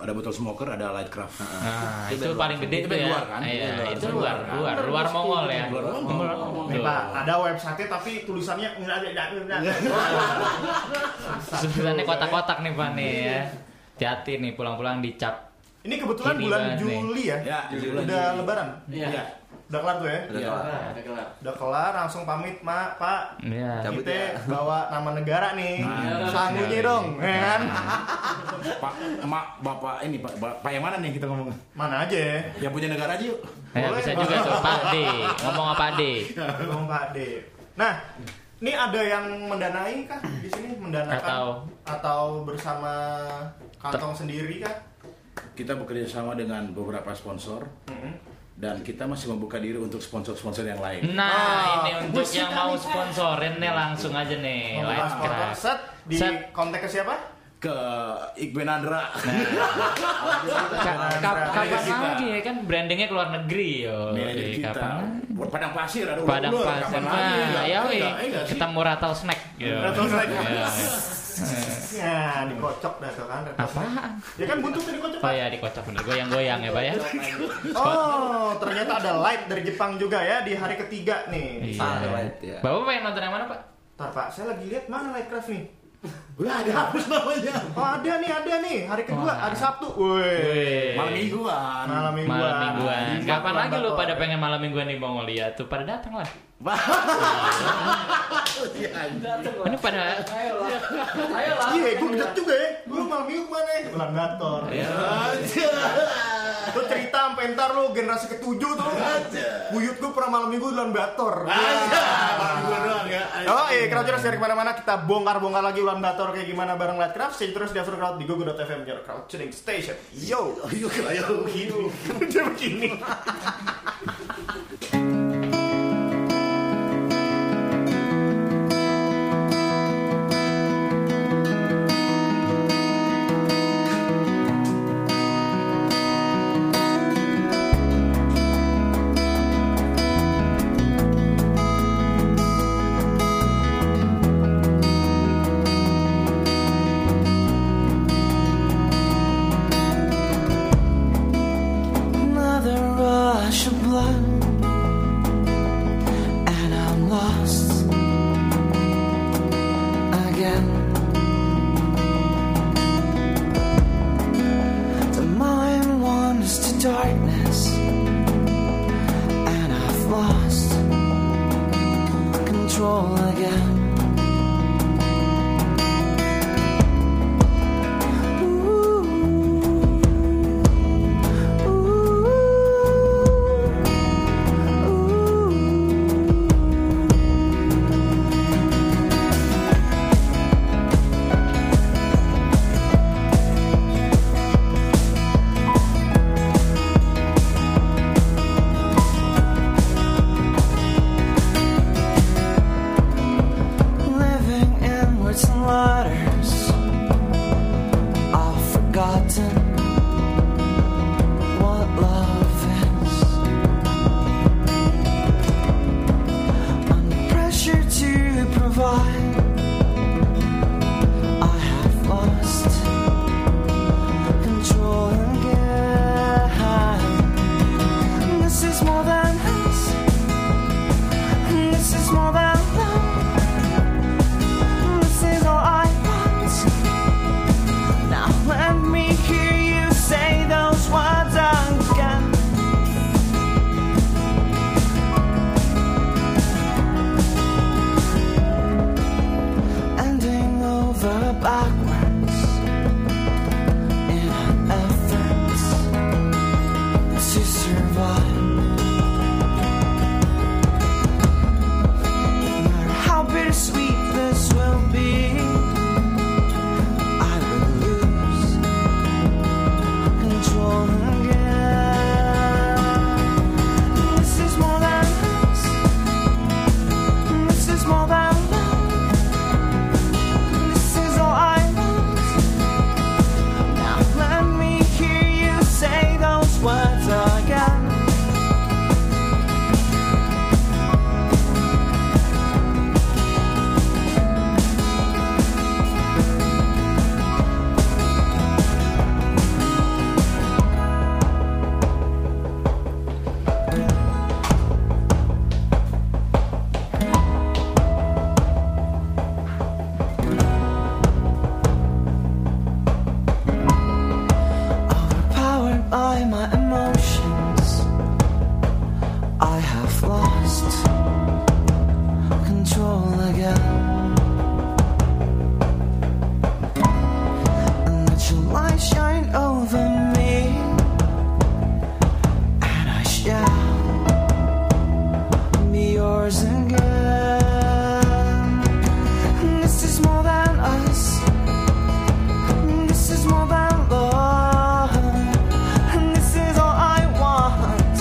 Ada botol smoker, ada lightcraft.
Nah, itu paling gede
Itu
tuh ya.
luar kan?
Iya,
Luar,
itu
luar
luar,
kan?
luar, luar Mongol ya.
Luar Mongol.
Nih
Tuh.
Pak, ada website tapi tulisannya nggak ada nggak ada, nggak ada.
Sebenarnya
Iya.
kotak-kotak nih Pak nih ya. Hati-hati nih pulang-pulang dicap.
Ini kebetulan
Ini
bulan
banget nih.
Juli ya.
Ya,
Udah
bulan Juli.
lebaran.
Iya.
Udah kelar tuh ya.
Ada
Iya.
kelar.
Ada kelar.
Udah kelar langsung pamit, Mak, Pak.
Iya.
Cabut
Kita
ya.
bawa nama negara nih.
Nah,
Sangunya dong, ya kan?
Pak, emak, bapak ini Pak, Ba- Pak yang mana nih kita ngomong?
Mana aja ya?
Yang punya negara aja yuk.
Ya,
Boleh.
bisa juga tuh Pak D. Ngomong apa D?
Ngomong Iya, Pak D. Nah, ini ada yang mendanai kah di sini mendanakan
Atau-
atau bersama kantong sendiri kah?
Kita bekerja sama dengan beberapa sponsor dan kita masih membuka diri untuk sponsor-sponsor yang lain.
Nah,
Ah,
ini untuk yang mau sponsorin nih langsung aja nih.
Ngomong
Light
Mas Motor,
craft.
set di
Eh, Set.
kontak ke siapa?
Ke Ikbenandra.
Ka- ka-
Iya,
Kapan
Kita.
lagi ya kan brandingnya ke luar negeri yo.
Manajer
Eh,
kita.
Kapan lagi?
Buat Padang Pasir ada
Padang
ulur-ulur,
Pasir.
kapan lagi?
Nah,
Enggak,
ya weh.
enggak, enggak sih.
Ketemu Rattle Snack. Iya. Yo.
Rattlesnake.
Yo.
Nah, dikocok dah tuh kan.
Apaan?
Ya kan buntutnya dikocok.
Oh
Pak.
ya dikocok bener goyang-goyang ya Pak ya.
Oh, ternyata ada live dari Jepang juga ya di hari ketiga nih.
Iya.
Ah, right, ya.
Bapak pengen nonton yang mana Pak?
Ntar Pak, saya lagi lihat mana Lightcraft nih.
Wah, ada hapus namanya.
Oh ada nih, ada nih. Hari kedua,
Wah.
hari Sabtu. Woi.
Malam mingguan.
Malam Eh, mingguan.
Malam mingguan.
Di
Kapan
Magelang
lagi lu
Bakor.
pada pengen malam mingguan di Mongolia tuh pada datang lah.
Dateng lah.
Ini pada
Ayo lah. Ayo lah.
Iya, gue gedek juga ya. Gue malam minggu kemana ya? Ulang kantor. Lu cerita sampai ntar lu generasi ketujuh tuh. Buyut gue pernah malam minggu ulang bator.
Malam mingguan doang ya.
Oh iya, Crowd Tuners dari kemana-mana kita bongkar-bongkar lagi ulan bator kayak gimana bareng Lightcraft Stay terus di After Crowd di Google.fm Your Crowd Tuning Station Yo
Ayo, ayo.
Dia begini
Another rush of blood, and I'm lost again. The mind wanders to darkness, and I've lost control again. Ooh. control again. And let your light shine over me. And I shall be yours again. This is more than us. This is more than love. This is all I want.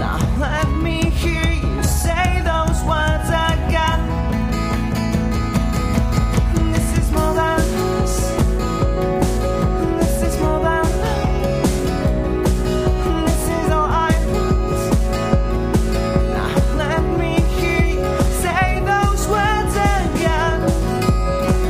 Now let me hear you say those words again. This is more than us. This is more than love. This is all I want. Now let me hear you say those words again.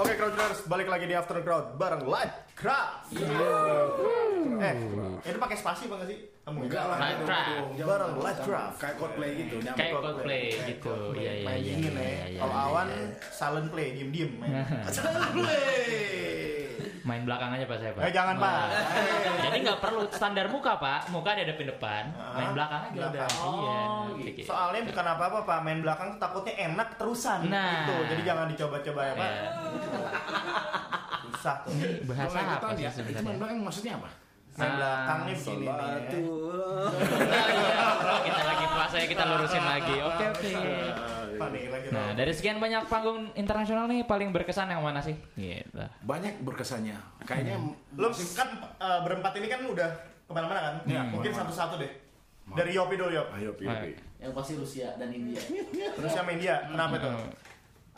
Oke Crowdtuners, balik lagi di After Crowd bareng Live Craft.
Iya.
Eh, ini pakai spasi apa nggak sih? Kamu enggak lah.
Live Craft.
Bareng Live Craft.
Kayak cosplay gitu. nyampe.
Kayak Coldplay gitu. Iya iya
Kayak
iya.
gini
iya,
nih.
iya,
Kalau
iya,
awan
iya.
silent play, diem-diem. men.
main belakang aja Pak saya, Pak.
Eh jangan, Pak.
Wah. Jadi nggak perlu standar muka, Pak. Muka dihadapin depan, main belakang aja udah.
Ah, Belakang.
Iya.
Eh,
Kayak
Soalnya
gitu.
bukan apa-apa, Pak. Main belakang tuh takutnya enak terusan
Nah.
gitu. Jadi jangan dicoba-coba ya, Pak.
Iya.
Susah tuh.
bahasa
Kalau
apa
ikutan
sih
ya, Itu main
sebenarnya?
belakang maksudnya apa?
Main
Ah,
belakang nih ya. begini nih.
Oh, kita lagi puasa ya kita lurusin lagi. Oke, oke.
Pak nih lagi.
Nah, dari sekian banyak panggung internasional nih paling berkesan yang mana sih? Gitu.
Banyak berkesannya. Kayaknya
Hmm.
Lo kan eh, berempat ini kan udah kemana-mana kan?
Iya,
Mungkin
kemana-mana.
satu-satu deh. Dari Yopi dulu Yop.
ayo pilih.
Yang pasti Rusia dan India.
Terus sama India, kenapa tuh?
Eh,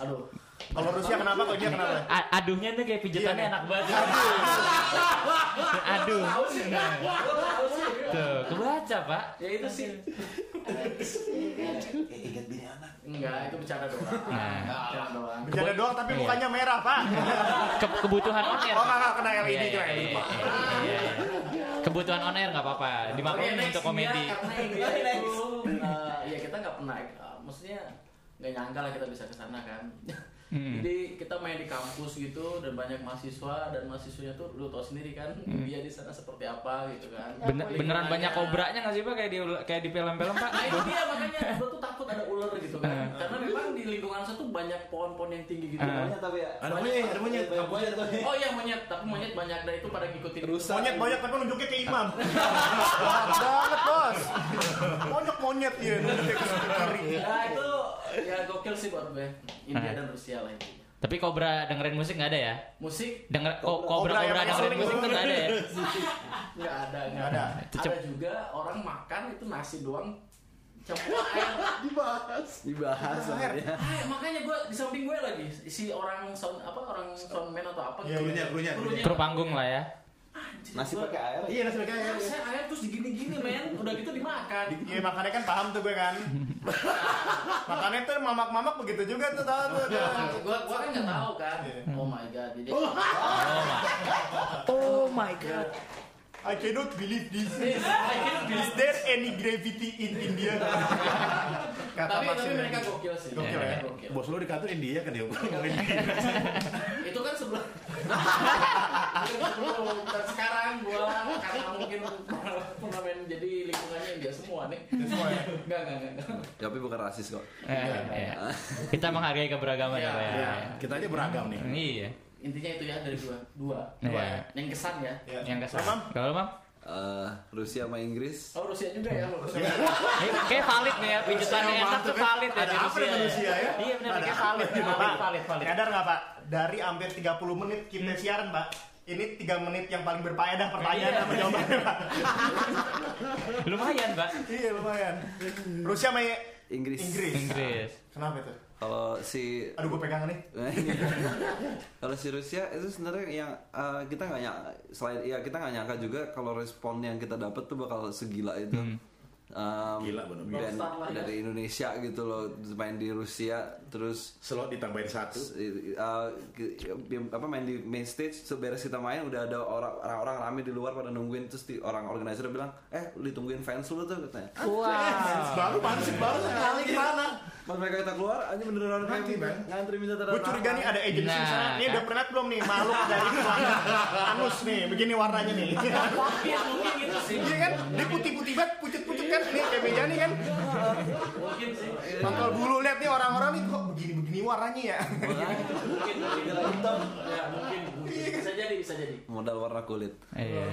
Aduh.
Kalau Rusia kenapa, kalau India kenapa?
A- aduhnya tuh kayak
Iya, nih.
pijetannya enak banget. Aduh.
Gua tahu sih.
Tuh, kebaca, Pak.
Ya itu sih.
Ingat bini anak.
Enggak, itu bercanda doang.
Nah.
Bercanda doang.
Bercanda doang tapi
Iya.
mukanya merah, Pak.
Ke- kebutuhan on air.
Oh, enggak, enggak, kena E
Iya,
LED
iya,
kena LED.
iya, iya, iya. Kebutuhan on air nggak apa-apa. Dimaklumi
Iya, next,
untuk komedi.
India, karena
Iya,
India itu, eh, ya kita nggak pernah, eh, maksudnya nggak nyangka lah kita bisa ke sana kan.
Hmm.
Jadi kita main di kampus gitu dan banyak mahasiswa dan mahasiswanya tuh lu tau sendiri kan dia di sana seperti apa gitu kan.
Bener- beneran
Lingkungannya.
banyak kobranya nggak sih pak kayak di kayak di film-film pak?
Nah itu dia makanya gue tuh takut ada ular gitu
Mm.
kan. Karena memang di lingkungan saya tuh banyak pohon-pohon yang tinggi gitu.
Eh.
Monyet tapi ya.
Ada monyet, ada monyet.
Banyak monyet tapi.
Oh iya monyet, tapi monyet banyak dari itu pada ngikutin
Rusak.
Monyet monyet tapi nunjuknya ke imam. Jahat banget, Bos. Monyet monyet ya, nunjuknya ke kiri.
Iya.
Nah itu ya gokil sih buat gue.
Nah.
India dan Rusia lah itu.
Tapi kobra dengerin musik nggak ada ya?
Musik
Denger ko-
Kobra
kobra
yang
kobra
paling
dengerin
sering
musik
dulu.
tuh nggak ada ya?
nggak ada nggak
Nggak ada.
ada.
Itu cep-
Ada juga orang makan itu nasi doang campur air.
Dibahas. Dibahas sebenarnya.
Ah, makanya gue di samping gue lagi si orang sound apa orang soundman atau apa?
Iya,
Krunya, krunya,
Krunya.
Kru panggung lah ya.
Anjir,
Nasi
gua- "Eh,
pakai air.
Iya, nasi pakai air.
Saya air terus digini-gini men, udah gitu dimakan.
Iya makanya kan paham tuh gue kan. makanya tuh mamak-mamak begitu juga tuh tahu tuh. tuh.
Gua, gua kan nggak tahu kan.
Iya.
Oh my god, jadi
Oh my god.
I cannot believe this.
Iya,
Is there any gravity in India? Kata
tapi, tapi
Maxine.
mereka gokil sih.
Gokil
Mereka
ya?
Gokil.
Bos lu di kantor India kan dia ngomongin.
Itu kan sebelum. sebelum dan sekarang gua karena mungkin turnamen jadi lingkungannya India semua nih.
Semua ya?
Enggak enggak enggak.
Tapi bukan rasis kok.
Eh, iya. Kita menghargai keberagaman ya pak ya.
Iya.
Kita aja beragam nih.
Iya.
Intinya itu ya dari dua, dua,
Iya.
dua. ya. Yang kesan ya.
Ya.
Yang kesal.
Mam,
Kalau mam?
Eh, Rusia sama Inggris.
Oh Rusia juga ya lo. Rusia.
Eh, Kayak valid nih ya pijetannya enak tuh valid ya di
Ada apa
Rusia.
dengan
ya.
Rusia ya?
Iya benar
Ada
kayak
apa
valid,
dengan
valid,
Pak?
valid, valid. Hmm.
Nyadar nggak Pak? Dari hampir 30 menit kita siaran Pak, ini 3 menit yang paling berfaedah pertanyaan
Iya.
sama jawabannya Pak.
Lumayan pak.
Iya lumayan. Rusia sama
Inggris.
Inggris.
Inggris.
Kenapa itu?
Kalau si Nah,
Aduh gue pegangan nih.
kalau si Rusia itu sebenarnya yang eh, kita nggak nyangka selain ya kita nggak nyangka juga kalau respon yang kita dapat tuh bakal segila itu um,
Gila, bener-bener.
band
Rockstar lah ya.
dari Indonesia gitu loh main di Rusia terus
Slot ditambahin satu.
uh, ke- yang- apa main di main stage seberes kita main udah ada orang orang rame di luar pada nungguin terus di, orang organizer bilang eh lu ditungguin fans lu tuh katanya
Wow.
Baru masuk baru sekali gimana?
pas mereka kita keluar aja beneran kayak
Mati, Bang.
ngantri minta tanda
Gue curiga
tangan.
nih ada agensi
Nah,
di sana. Nih
kan.
udah pernah belum nih makhluk dari celana anus nih, begini warnanya nih.
Iya mungkin gitu sih.
Iya kan? Dia putih-putih banget, pucet-pucet kan nih kayak meja nih kan.
Mungkin sih.
Pantol bulu lihat nih orang-orang nih kok begini-begini warnanya ya.
Mungkin mungkin hitam. Ya mungkin mungkin. Bisa jadi bisa jadi.
modal warna kulit
Iya.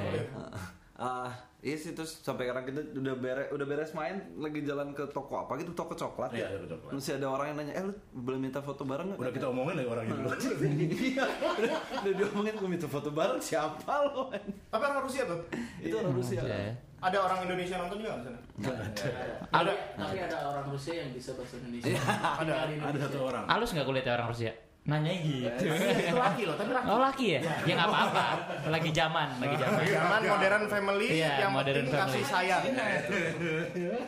Ah, iya sih terus sampai sekarang kita udah beres udah beres main lagi jalan ke toko apa gitu toko coklat
Iya,
ya.
toko coklat.
Masih ada orang yang nanya, "Eh, lu belum minta foto bareng nggak?"
Udah kita omongin lagi orangnya dulu.
Iya, udah, udah diomongin gue minta foto bareng siapa lo?
Iya.
Tapi orang Rusia tuh.
Itu orang Rusia.
Iya.
Ada orang Indonesia nonton juga di sana.
Ada tapi ada orang Rusia yang bisa bahasa Indonesia. Ada
Ada satu orang.
Halus nggak kulitnya orang Rusia? Nanya gitu.
Iya, Itu laki loh, tapi laki.
Oh laki ya? Ya nggak apa-apa. Lagi zaman, lagi zaman.
Zaman modern family
Iya,
yang
modern
penting kasih
family. Iya,
sayang.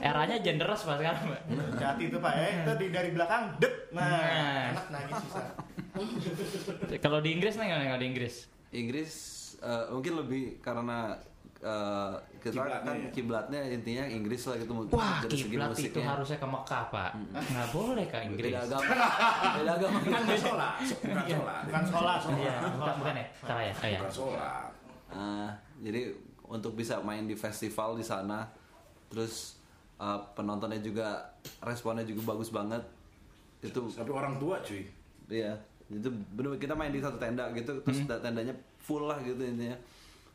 Eranya genderless pas sekarang. Mbak.
Hati itu Pak, eh itu di- dari belakang, dep. Nah,
Nah.
anak nangis susah.
Kalau di Inggris nih nggak kalau di Inggris?
Inggris eh, mungkin lebih karena eh, kita
Kiblatnya
kan
ya.
kiblatnya intinya Inggris lah gitu
Wah,
dari segi
kiblat itu
musiknya.
harusnya ke Mekah pak. Nggak boleh ke Inggris.
beda agama. beda agama.
Kan
Iya.
nggak sholat, bukan sholat,
Bukan sekolah,
Iya,
sekolah.
bukan bukan ya? Salah ya? Oh, iya.
bukan sholat.
Eh, jadi untuk bisa main di festival di sana, terus eh, penontonnya juga responnya juga bagus banget. Itu
Tapi orang tua cuy.
iya, itu bener kita main di satu tenda gitu, terus
Hmm.
tendanya full lah gitu intinya.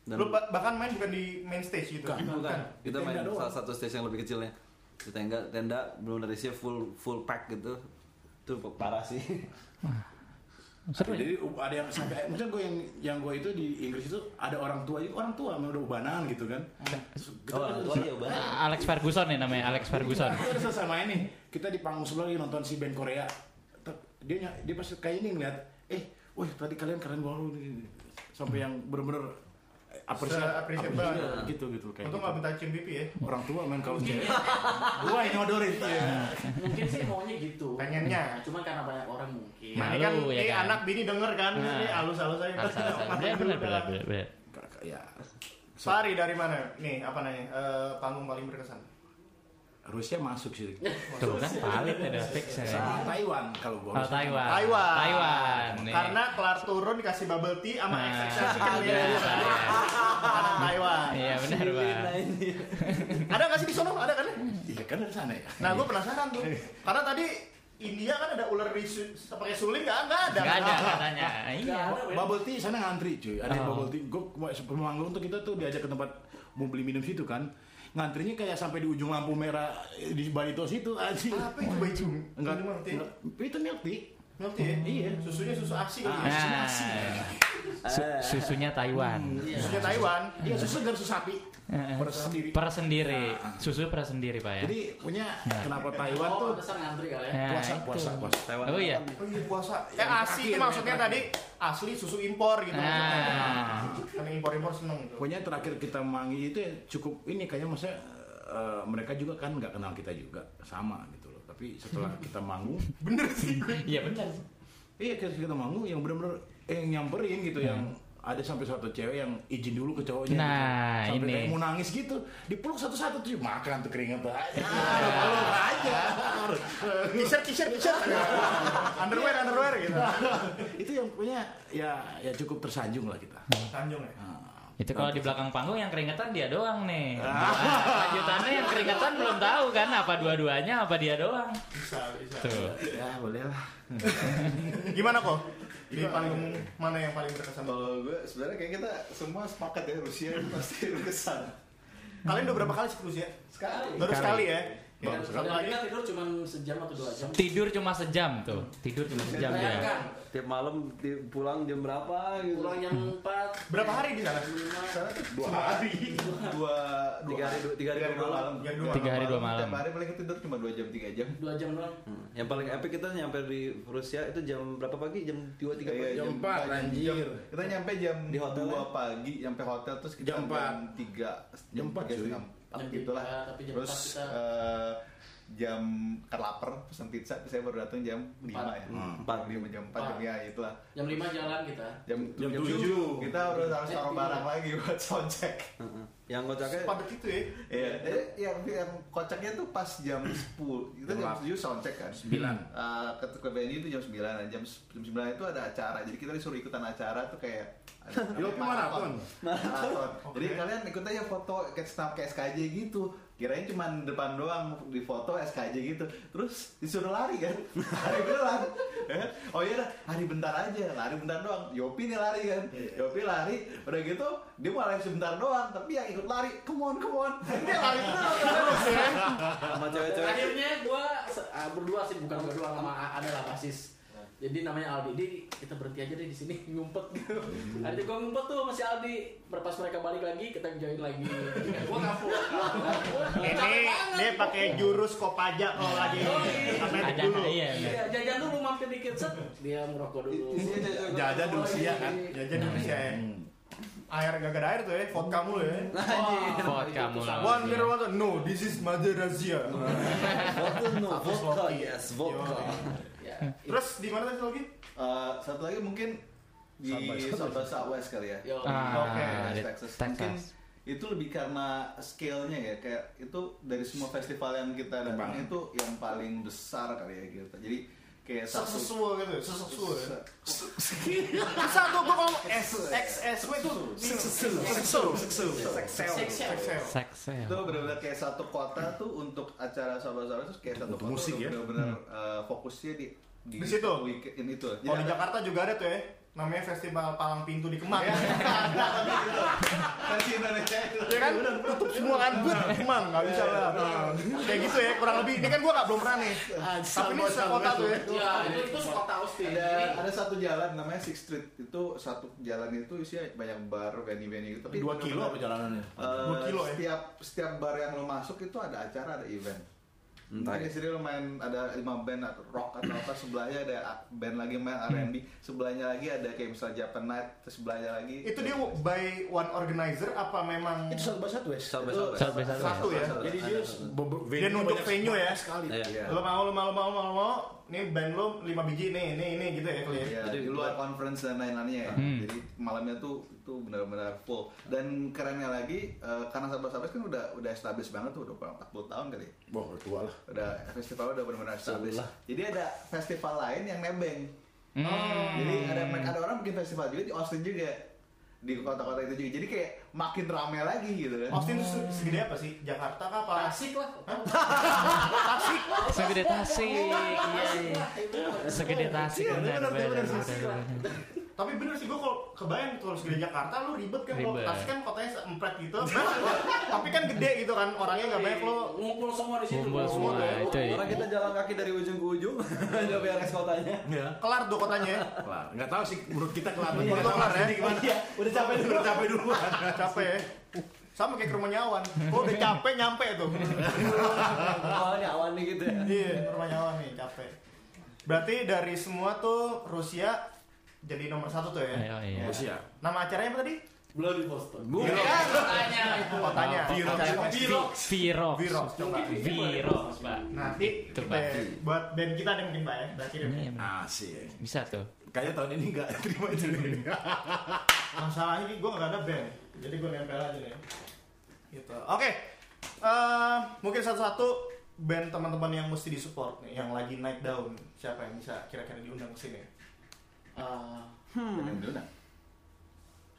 Dan
Lu ba- bahkan main bukan di main stage gitu.
bukan, kita
Di
main di
tenda doang.
salah satu stage yang lebih kecilnya. Di tenda, tenda belum dari sih full full pack gitu. Itu parah sih.
Seru ya?
Jadi u- ada yang sampai, misalnya gue yang yang gue itu di Inggris itu ada orang tua, juga, orang tua memang udah ubanan gitu kan. Terus Kita kan
Orang tua ya banget.
Alex Ferguson nih namanya Alex Ferguson.
Kita udah selesai main nih, kita di panggung sebelah lagi nonton si band Korea. Ter- Dia ny- dia pasti kayak ini ngeliat, eh, wih tadi kalian keren banget ini." sampai yang bener-bener eh, apresiasi
Se-apresiasi
apresiasi
banget.
gitu gitu kayak.
Untung nggak
gitu.
Iya. minta cium pipi ya.
Orang tua main kalau cewek, gua yang nodorin. Iya.
Mungkin sih maunya gitu.
Pengennya.
Nah, cuman karena banyak orang mungkin.
Malu,
ini kan,
ya
ini
kan?
anak bini denger kan,
Nah.
ini alus-alus aja.
Salah, salah, salah. Bener, Iya, bener, bener, bener, bener.
Ya,
Fahri dari mana? Nih, apa namanya? Eh, panggung paling berkesan.
Rusia masuk sih.
Tuh kan valid ya udah fix ya.
Sama Taiwan kalau gua.
Kalau Taiwan.
Taiwan.
Ah, Taiwan. iya. nih.
Karena kelar turun dikasih bubble tea sama
Nah,
XXL chicken
ada,
ya.
ada.
Anak Taiwan.
Iya benar pak.
Ada nggak sih di sono? Ada kan?
Iya kan dari sana ya.
Nah, gue penasaran tuh. Karena tadi India kan ada ular di su- pakai suling nggak? Nggak ada.
Gak ada katanya. Iya.
Bubble tea sana ngantri cuy, ada
Oh.
bubble tea. Gue pemanggung tuh kita tuh diajak ke tempat mau beli minum situ kan. Ngantrinya kayak sampai di ujung lampu merah eh, di Barito situ anjing.
Apa itu baju?
Enggak,
Ini mah tea.
enggak. Itu milk tea.
Milk tea ya?
Iya.
Susunya susu aksi kali ya?
Nah, su- susunya Taiwan.
Susunya Taiwan.
nah,
Iya, susu segar susu sapi. Perut sendiri.
Per sendiri, susu per sendiri pak Eh. ya.
Hmm, iya. Jadi punya kenapa Taiwan tuh
Oh, besar ngantri kali ya.
Nah,
puasa
itu.
puasa puasa.
Oh iya.
Oh iya puasa. Eh asli itu maksudnya tadi asli susu impor gitu maksudnya.
Nah,
Karena impor-impor seneng gitu.
Pokoknya terakhir kita manggil itu ya cukup ini kayaknya maksudnya eh, mereka juga kan nggak kenal kita juga sama gitu loh. Tapi setelah kita manggung
Bener sih gue.
iya benar.
Iya kita kita manggung yang benar-benar eh, yang nyamperin gitu yang ada sampai satu cewek yang izin dulu ke cowoknya gitu.
Hmm. Nah,
sampai
ini.
kayak mau nangis gitu dipeluk satu-satu tuh makan tuh keringat tuh aja peluk aja
T-shirt, t-shirt, t-shirt. underwear, underwear gitu.
itu yang punya ya ya cukup tersanjung lah kita
Tanjung ya.
Nah,
Hmm. Itu kalau di belakang panggung yang keringetan dia doang nih.
Ah.
Nah, Lanjutannya yang keringetan belum tahu kan apa dua-duanya apa dia doang.
Bisa, bisa.
Tuh.
ya boleh lah
Gimana kok? Di paling mana yang paling berkesan?
Kalau gue sebenarnya kayak kita semua sepakat ya Rusia itu pasti berkesan.
Kalian udah berapa kali sih Kus, ya?
Sekali.
Baru sekali ya. Ya,
Dan
satu lagi.
kita tidur cuma sejam atau dua jam.
Tidur cuma sejam iya. tuh. Tidur cuma sejam dia.
Bayangkan,
tiap malam di- pulang jam berapa gitu
Pulang jam 4
Berapa hari di sana?
Sana tuh
dua hari
dua
Tiga hari- dua- tiga hari dua malam.
Tiga hari dua
Tiga hari dua malam.
Tiap hari paling tidur cuma dua jam tiga jam.
2 jam doang
Hmm. yang paling epic kita nyampe di Rusia itu jam berapa pagi jam dua tiga
Iya,
pagi
jam
jam
empat,
empat,
anjir.
jam- Kita nyampe jam
Di hotel ya?
dua pagi, nyampe hotel terus kita
Jam empat.
tiga,
Jam empat,
tiga
cuy.
setengah empat
Jam
gitulah.
tiga, tapi jam
Terus
empat kita-
eh, jam kelaper pesan pizza, terus saya baru datang jam lima ya.
Hmm.
Empat.
lima jam empat jam
Empat.
ya itulah.
Jam 5 jalan kita
Jam,
Jam tujuh.
kita harus harus taruh
Eh,
barang
iya.
lagi buat sound check.
Heeh. yang kocaknya
Sepadat itu ya.
Iya, jadi yang, yang kocaknya tuh pas jam 10 Itu jam
Gelap.
7 sound check kan
Sembilan.
Eh, ke, ke venue itu jam 9 nah, jam, s- jam 9 itu ada acara Jadi kita disuruh ikutan acara tuh kayak ada-
Yopi maraton.
Maraton
Oke.
Jadi kalian ikut aja foto kayak snap kayak SKJ gitu Kirain cuman depan doang di foto SKJ gitu Terus disuruh lari kan Lari beneran Eh, Oh iya dah, lari bentar aja Lari bentar doang Yopi nih lari kan Yopi lari Udah gitu dia mau lari sebentar doang Tapi yang ikut lari Come on, come on Dia lari terus kan
Dan
sama
ah,
cewek-cewek
akhirnya gua se- ah, berdua sih bukan berdua sama A- ada lah basis jadi namanya Aldi, Di, kita berhenti aja deh di sini ngumpet gitu. Nanti gua ngumpet tuh masih Aldi. Berpas mereka balik lagi, kita join lagi. gua kapur.
Ini dia pakai jurus kopaja kalau lagi atletik
Ada
dulu.
iya.
Iya, jajan dulu mampir dikit set. Dia merokok dulu.
Jajan di usia kan.
Jajan Indonesia ya. Air gak ada air tuh ya, vodka mulu ya.
Iya,
Buat kamu lah.
One mirror one tuh, no, this is Mother Razia.
vodka no vodka
sloki.
yes
Iya,
vodka
Ya,
Terus di mana tadi lagi?
Eh, satu lagi mungkin di South by Southwest kali ya.
Yo.
Ah,
Oke,
di
Texas.
Texas.
Mungkin itu lebih karena scale-nya ya kayak itu dari semua festival yang kita datang itu yang paling besar kali ya gitu. Jadi kayak satu
Sesuai gitu, sesuai. Satu gua ngomong S X S W itu seksu, seksu, seksel.
Seksel.
itu benar-benar kayak satu kota tuh untuk acara sahabat-sahabat itu kayak satu
Untuk
kota
musik
tuh
ya?
benar-benar eh, fokusnya di
Di situ?
weekend itu. Jadi
Kalau di
ada-
Jakarta juga ada tuh ya, namanya Festival Palang Pintu di Kemang.
kan di Indonesia itu.
ya kan tutup semua kan buat emang nggak bisa lah kayak gitu ya kurang lebih ini kan gua nggak belum pernah nih tapi ini sekota tuh ya
Ya, itu itu kota Austin.
ada
Jadi,
ada satu jalan namanya Six Street itu satu jalan itu isinya banyak bar venue-venue gitu tapi
Dua
bener-bener,
kilo perjalanannya.
eh,
Dua kilo ya?
setiap setiap bar yang lo masuk itu ada acara ada event
Entah
Entah di sini lo main ada lima band atau rock atau apa sebelahnya ada band lagi main R&B sebelahnya lagi ada kayak misalnya Japan Night terus sebelahnya lagi
itu dia by one organizer apa memang
Itu satu bahasa West.
South by
Itu
Southwest.
South by Southwest.
Satu ya?
ya? Jadi dia be- be-
dia nunjuk
banyak
venue ya
sekali.
Iya.
lo mau lo mau lo mau lo mau mau nih band lo lima biji nih nih nih gitu ya kali ya
Ya,
Jadi
di luar conference dan lain-lainnya ya. Jadi malamnya tuh itu benar-benar full. Dan kerennya lagi eh, karena sahabat-sahabat kan udah udah established banget tuh udah kurang 40 tahun kali. ya.
Wah, tua lah.
Udah festival udah benar-benar established. Jadi ada festival lain yang nebeng.
Hmm.
Oh. Jadi ada ada orang bikin festival juga di Austin juga di kota-kota itu juga. Jadi kayak makin rame lagi gitu kan.
Austin tuh se- segede apa sih Jakarta kah apa
Tasik lah.
Segede tasik. Iya,
Tasik
iya.
lah, itu.
Segede tasik.
Iya, benar,
benar, benar,
benar,
benar,
tasik
benar.
tapi bener sih gua kalau kebayang tuh kalau segede Jakarta lu ribet kan kalau
Ribet.
Tasik kan kotanya seempat gitu tapi kan gede gitu kan orangnya nggak banyak lo
ngumpul semua di situ.
Ngumpul semua, itu ya.
orang kita jalan kaki dari ujung ke ujung udah beres kotanya
kelar tuh kotanya ya
Kelar. Nggak tahu sih menurut kita kelar.
Iya,
Menurut lo kelar ya
Iya. Udah capek dulu. Udah capek dulu.
capek ya sama kayak ke rumah nyawan oh udah capek nyampe tuh
awalnya awalnya gitu ya
iya ke rumah nyawan nih capek berarti dari semua tuh Rusia jadi nomor satu tuh ya
Ayo, iya.
Rusia.
nama acaranya apa tadi Iya kan?
Belum di Boston.
bu
Tanya itu.
kotanya
Virox.
Acaranya-
Virox.
Virox.
Virox coba
Virox, Pak.
nanti
Coba.
kita ya, buat band kita ada mungkin pak ya berarti deh.
Ini yang-
Asik.
Bisa tuh.
Nah, Kayaknya tahun ini nggak terima itu.
masalahnya ini gue nggak ada band jadi gue nempel aja nih gitu oke Eh, mungkin satu-satu band teman-teman yang mesti disupport nih yang lagi naik daun siapa yang bisa kira-kira diundang ke sini
Ah,
Hmm.
Dan itu nah,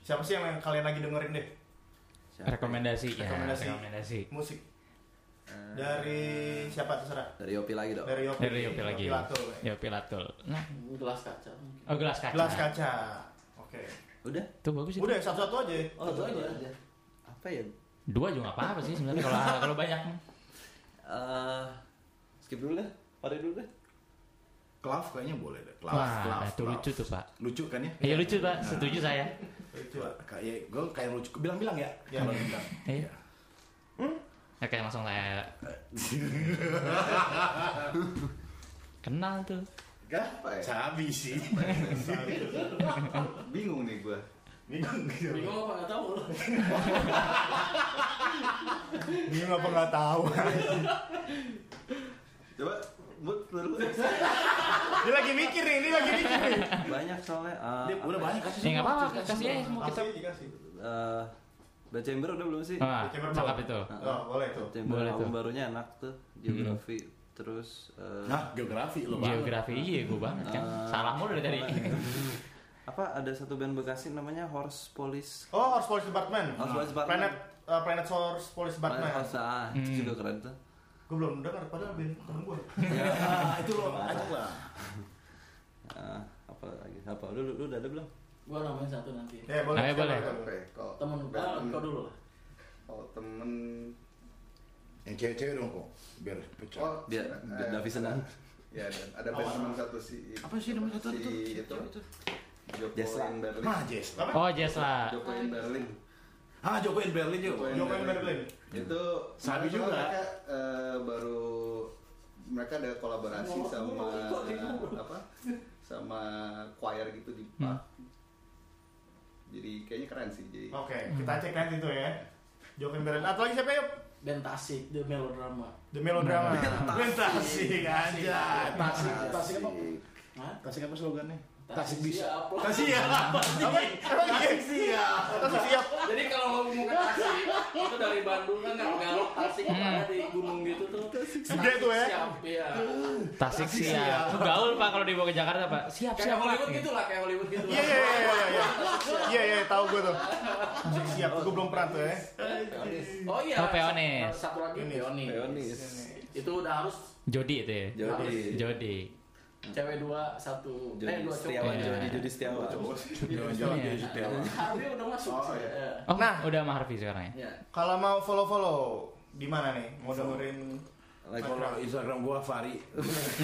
siapa sih yang, yang kalian lagi dengerin deh
Rekomendasi. ya,
Rekomendasi.
Rekomendasi.
musik
Eh,
dari siapa terserah
dari Yopi lagi dong
dari Yopi
Dari Yopi lagi.
Latul. ya.
Yopi Latul. Nah,
gelas kaca mungkin.
oh gelas kaca.
gelas kaca oke
udah
Tuh bagus itu.
udah satu-satu aja ya.
oh itu aja apa ya
Dua juga nggak apa-apa sih sebenarnya kalau kalau banyak.
Eh, skip dulu deh Pare dulu deh
Klav kayaknya boleh deh. Klav,
Wah,
Klav,
itu
Klav.
lucu tuh pak.
Lucu kan ya?
Iya lucu pak, setuju saya.
Lucu.
Coba, kayak gue kayak lucu. Bilang-bilang ya.
Ya.
Bilang-bilang.
Iya. Oke Ya, langsung saya kenal tuh.
Apa ya?
Sabi Iya. sih.
Bingung nih gua.
Bingung gitu.
Bingung apa nggak tahu lu.
Bingung apa nggak tahu?
Coba buat dulu
Dia lagi mikir nih, ini lagi mikir nih.
banyak soalnya. eh,
Dia udah banyak kasih
Ya nggak
semua.
apa-apa, kasih aja semua kita.
Kasih, dikasih.
eh, The Chamber udah belum sih?
Wah,
Chamber
Nah,
Ball.
cakep itu.
Oh, boleh tuh.
Chamber
Ah, Boleh
album
tuh. Hmm.
barunya enak tuh, geografi terus eh,
Nah, geografi lu banget.
Geografi iya gue banget kan.
Ah.
Salah mulu dari tadi.
apa ada satu band Bekasi namanya Horse Police.
Oh, Horse Police Department.
Horse Police Department.
Planet eh, Planet Horse Police Department.
Horse ah,
Hmm.
itu juga keren tuh.
Gue belum dengar padahal band temen gue.
Nah, itu lo ajak lah.
Ah, apa lagi? Apa lu, lu, lu udah ada belum?
Gua namain satu nanti.
Ya, boleh.
Nah, ya, boleh.
Apa ya? Kalau
Temen ah, kau dulu lah.
Kalau temen
Iya.
Yang cewek-cewek dong kok. Biar pecah.
Oh,
Biar
eh,
biar Davi senang.
Ya, ada, ada band temen satu si
Apa sih nomor satu itu?
si itu? Joko
Jessa.
in Berlin.
Nah, Jess.
Apa?
Oh Jesla.
Joko in Berlin.
Ah, Joko in Berlin juga.
Joko in
Joko in Berlin.
Itu
Sabi
mereka-
juga.
Mereka eh, baru mereka ada kolaborasi sama apa? Sama choir gitu di
Hmm.
park. Jadi kayaknya keren sih. Jadi
Oke, kita
Hmm.
cek nanti tuh ya. Joko in Berlin. Atau lagi siapa yuk?
Band Tasik, The Melodrama.
The Melodrama. Band Tasik aja.
Tasik, Tasik apa? Hah?
Tasik apa slogannya?
Tasik
Tasik bisa.
siap.
Tasik ya. Apa? Tasik siap.
Tasik siap.
Jadi kalau mau ke Tasik, itu dari Bandung kan nggak ngalok Tasik
Hmm,
ada di gunung gitu tuh.
Gede tuh ya.
Siap, iya.
Tasik siap. Gaul pak kalau dibawa ke Jakarta pak. Siap
Kayak
siap
Hollywood
pak.
gitu lah, kayak Hollywood gitu.
Iya, iya, iya, iya, iya. Iya, iya, tahu gue tuh. Tasik siap, gue belum pernah tuh ya.
Oh iya.
Oh, Peonis.
Satu lagi Peonis.
Leonis.
Itu udah harus
Jody itu ya.
Jody.
Jody.
cewek dua satu. Eh
Jody
dua
Setiawan,
Iya.
Jody Jody Setiawan.
Jangan-jangan
Iya.
jadi Setiawan.
Harvey udah masuk.
Oh, iya.
Iya.
Oh
Nah.
udah sama Harvey sekarang ya.
Iya.
Kalau mau follow-follow, di mana nih? Mau dengerin
Like
Kalau Instagram gua Fari.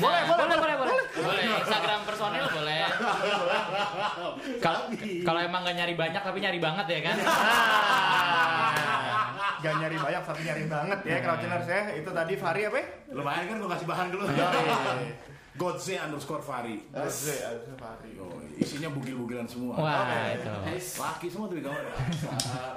Boleh, boleh, boleh, boleh. Boleh, Instagram personil boleh. Kalau kalau emang nggak nyari banyak tapi nyari banget ya kan.
Gak nyari banyak, tapi nyari banget ya, Crouchers ya. Itu tadi Fahri apa ya?
Lumayan kan gua kasih bahan dulu. Godze underscore Fari.
Azri, Azri Fahri.
Yo, isinya bugil-bugilan semua.
Wah, itu.
Nice.
Laki semua tuh di kamar.
Ah,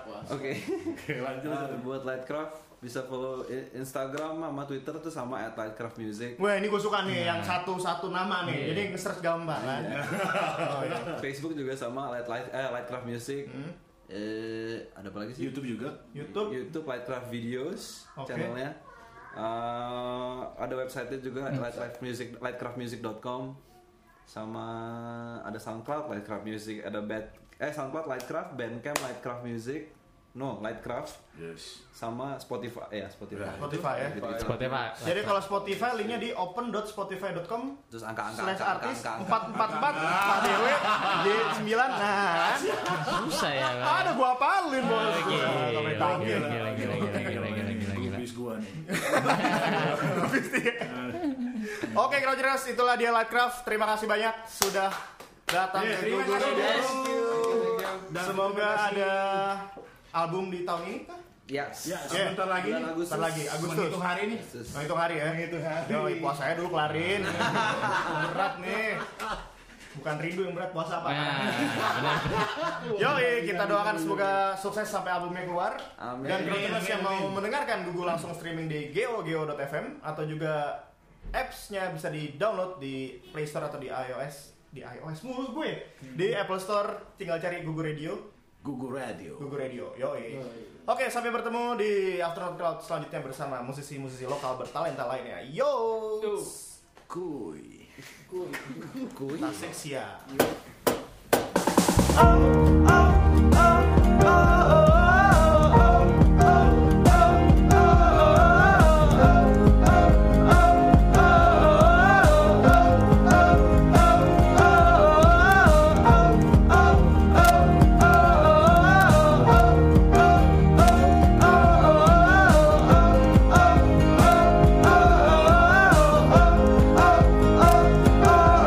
puas.
Oke.
Oke, lanjut.
Nah,
Ah.
buat Lightcraft bisa follow i- Instagram sama Twitter tuh sama at Lightcraft Music.
Wah ini gue suka nih yang satu-satu nama
Iya.
nih, jadi nge-search gambar kan. Oh, iya.
Facebook juga sama Light Light eh Lightcraft Music. Eh ada apa lagi sih?
YouTube juga.
Hmm. YouTube,
YouTube Lightcraft Videos
Oke.
channelnya. Eh, ada website-nya
Hmm.
juga Lightcraft Music lightcraftmusic.com sama ada SoundCloud Lightcraft Music, ada Bad eh SoundCloud Lightcraft, Bandcamp Lightcraft Music. No, Lightcraft
Yes.
sama Spotify ya Spotify.
Spotify ya.
Gitu-gitu.
Seperti pak.
Jadi kalau Spotify linknya di open.spotify.com
Terus angka-angka
slash
angka-angka,
artis
angka-angka.
444 DW D9 nah
susah ya. Pak.
ada gua apalin bos
Gila,
Sampai tahu.
gila, gila, gila, gila, gila, gila, gila, gila, gila.
Bis gua nih.
oke Crouchers itulah dia Lightcraft terima kasih banyak sudah datang
Iya,
ke
terima
Google
kasih,
Days.
guys. Dan
semoga
terima kasih.
ada album di tahun ini kah?
Yes.
Ya, sebentar lagi nih.
Bulan Agustus.
Ntar lagi Agustus
Menghitung hari nih.
Menghitung hari ya Menghitung hari Yoi, puasanya dulu kelarin Berat nih Bukan rindu yang berat puasa apa
Nah, benar.
Yoi, kita doakan semoga sukses sampai albumnya keluar.
Amin.
Dan teman-teman yang mau mendengarkan Google langsung streaming di geogeo.fm atau juga apps-nya bisa di-download di Play Store atau di iOS di iOS mulu gue di Apple Store tinggal cari Google Radio
Gugu Radio.
Google Radio yoi oke sampai bertemu di Afternoon Cloud selanjutnya bersama musisi-musisi lokal bertalenta lainnya yo
Kuy.
tasik siap
oh, Oh,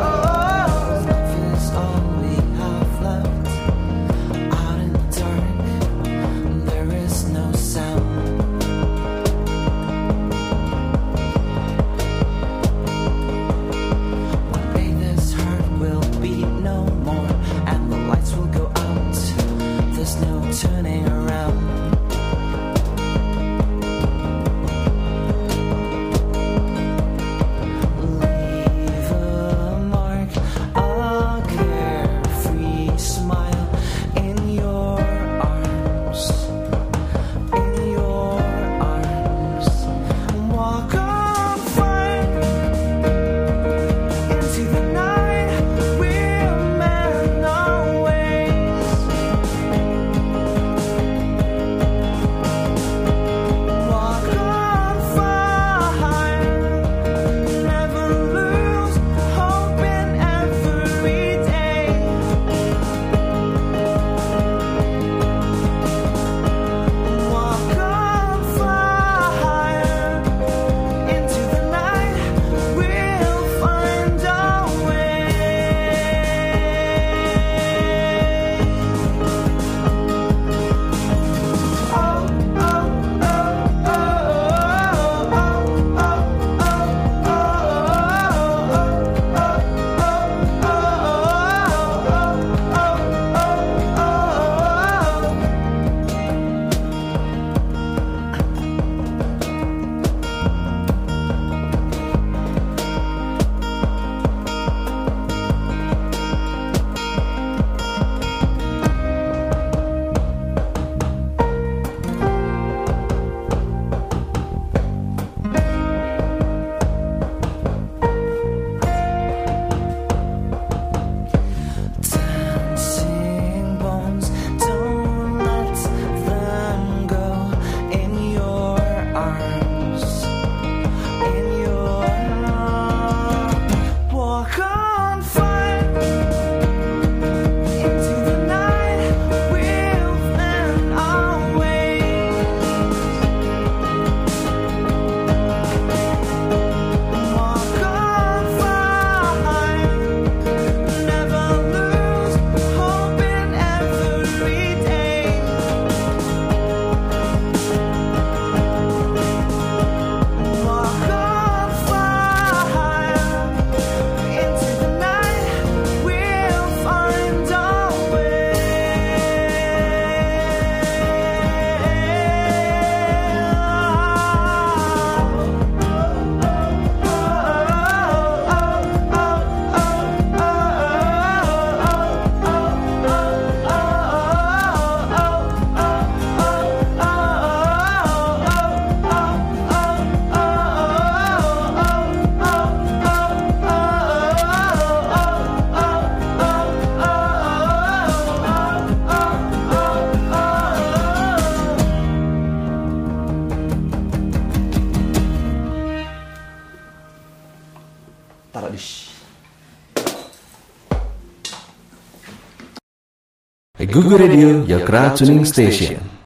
Oh, oh,
Google Radio, your crowd tuning station.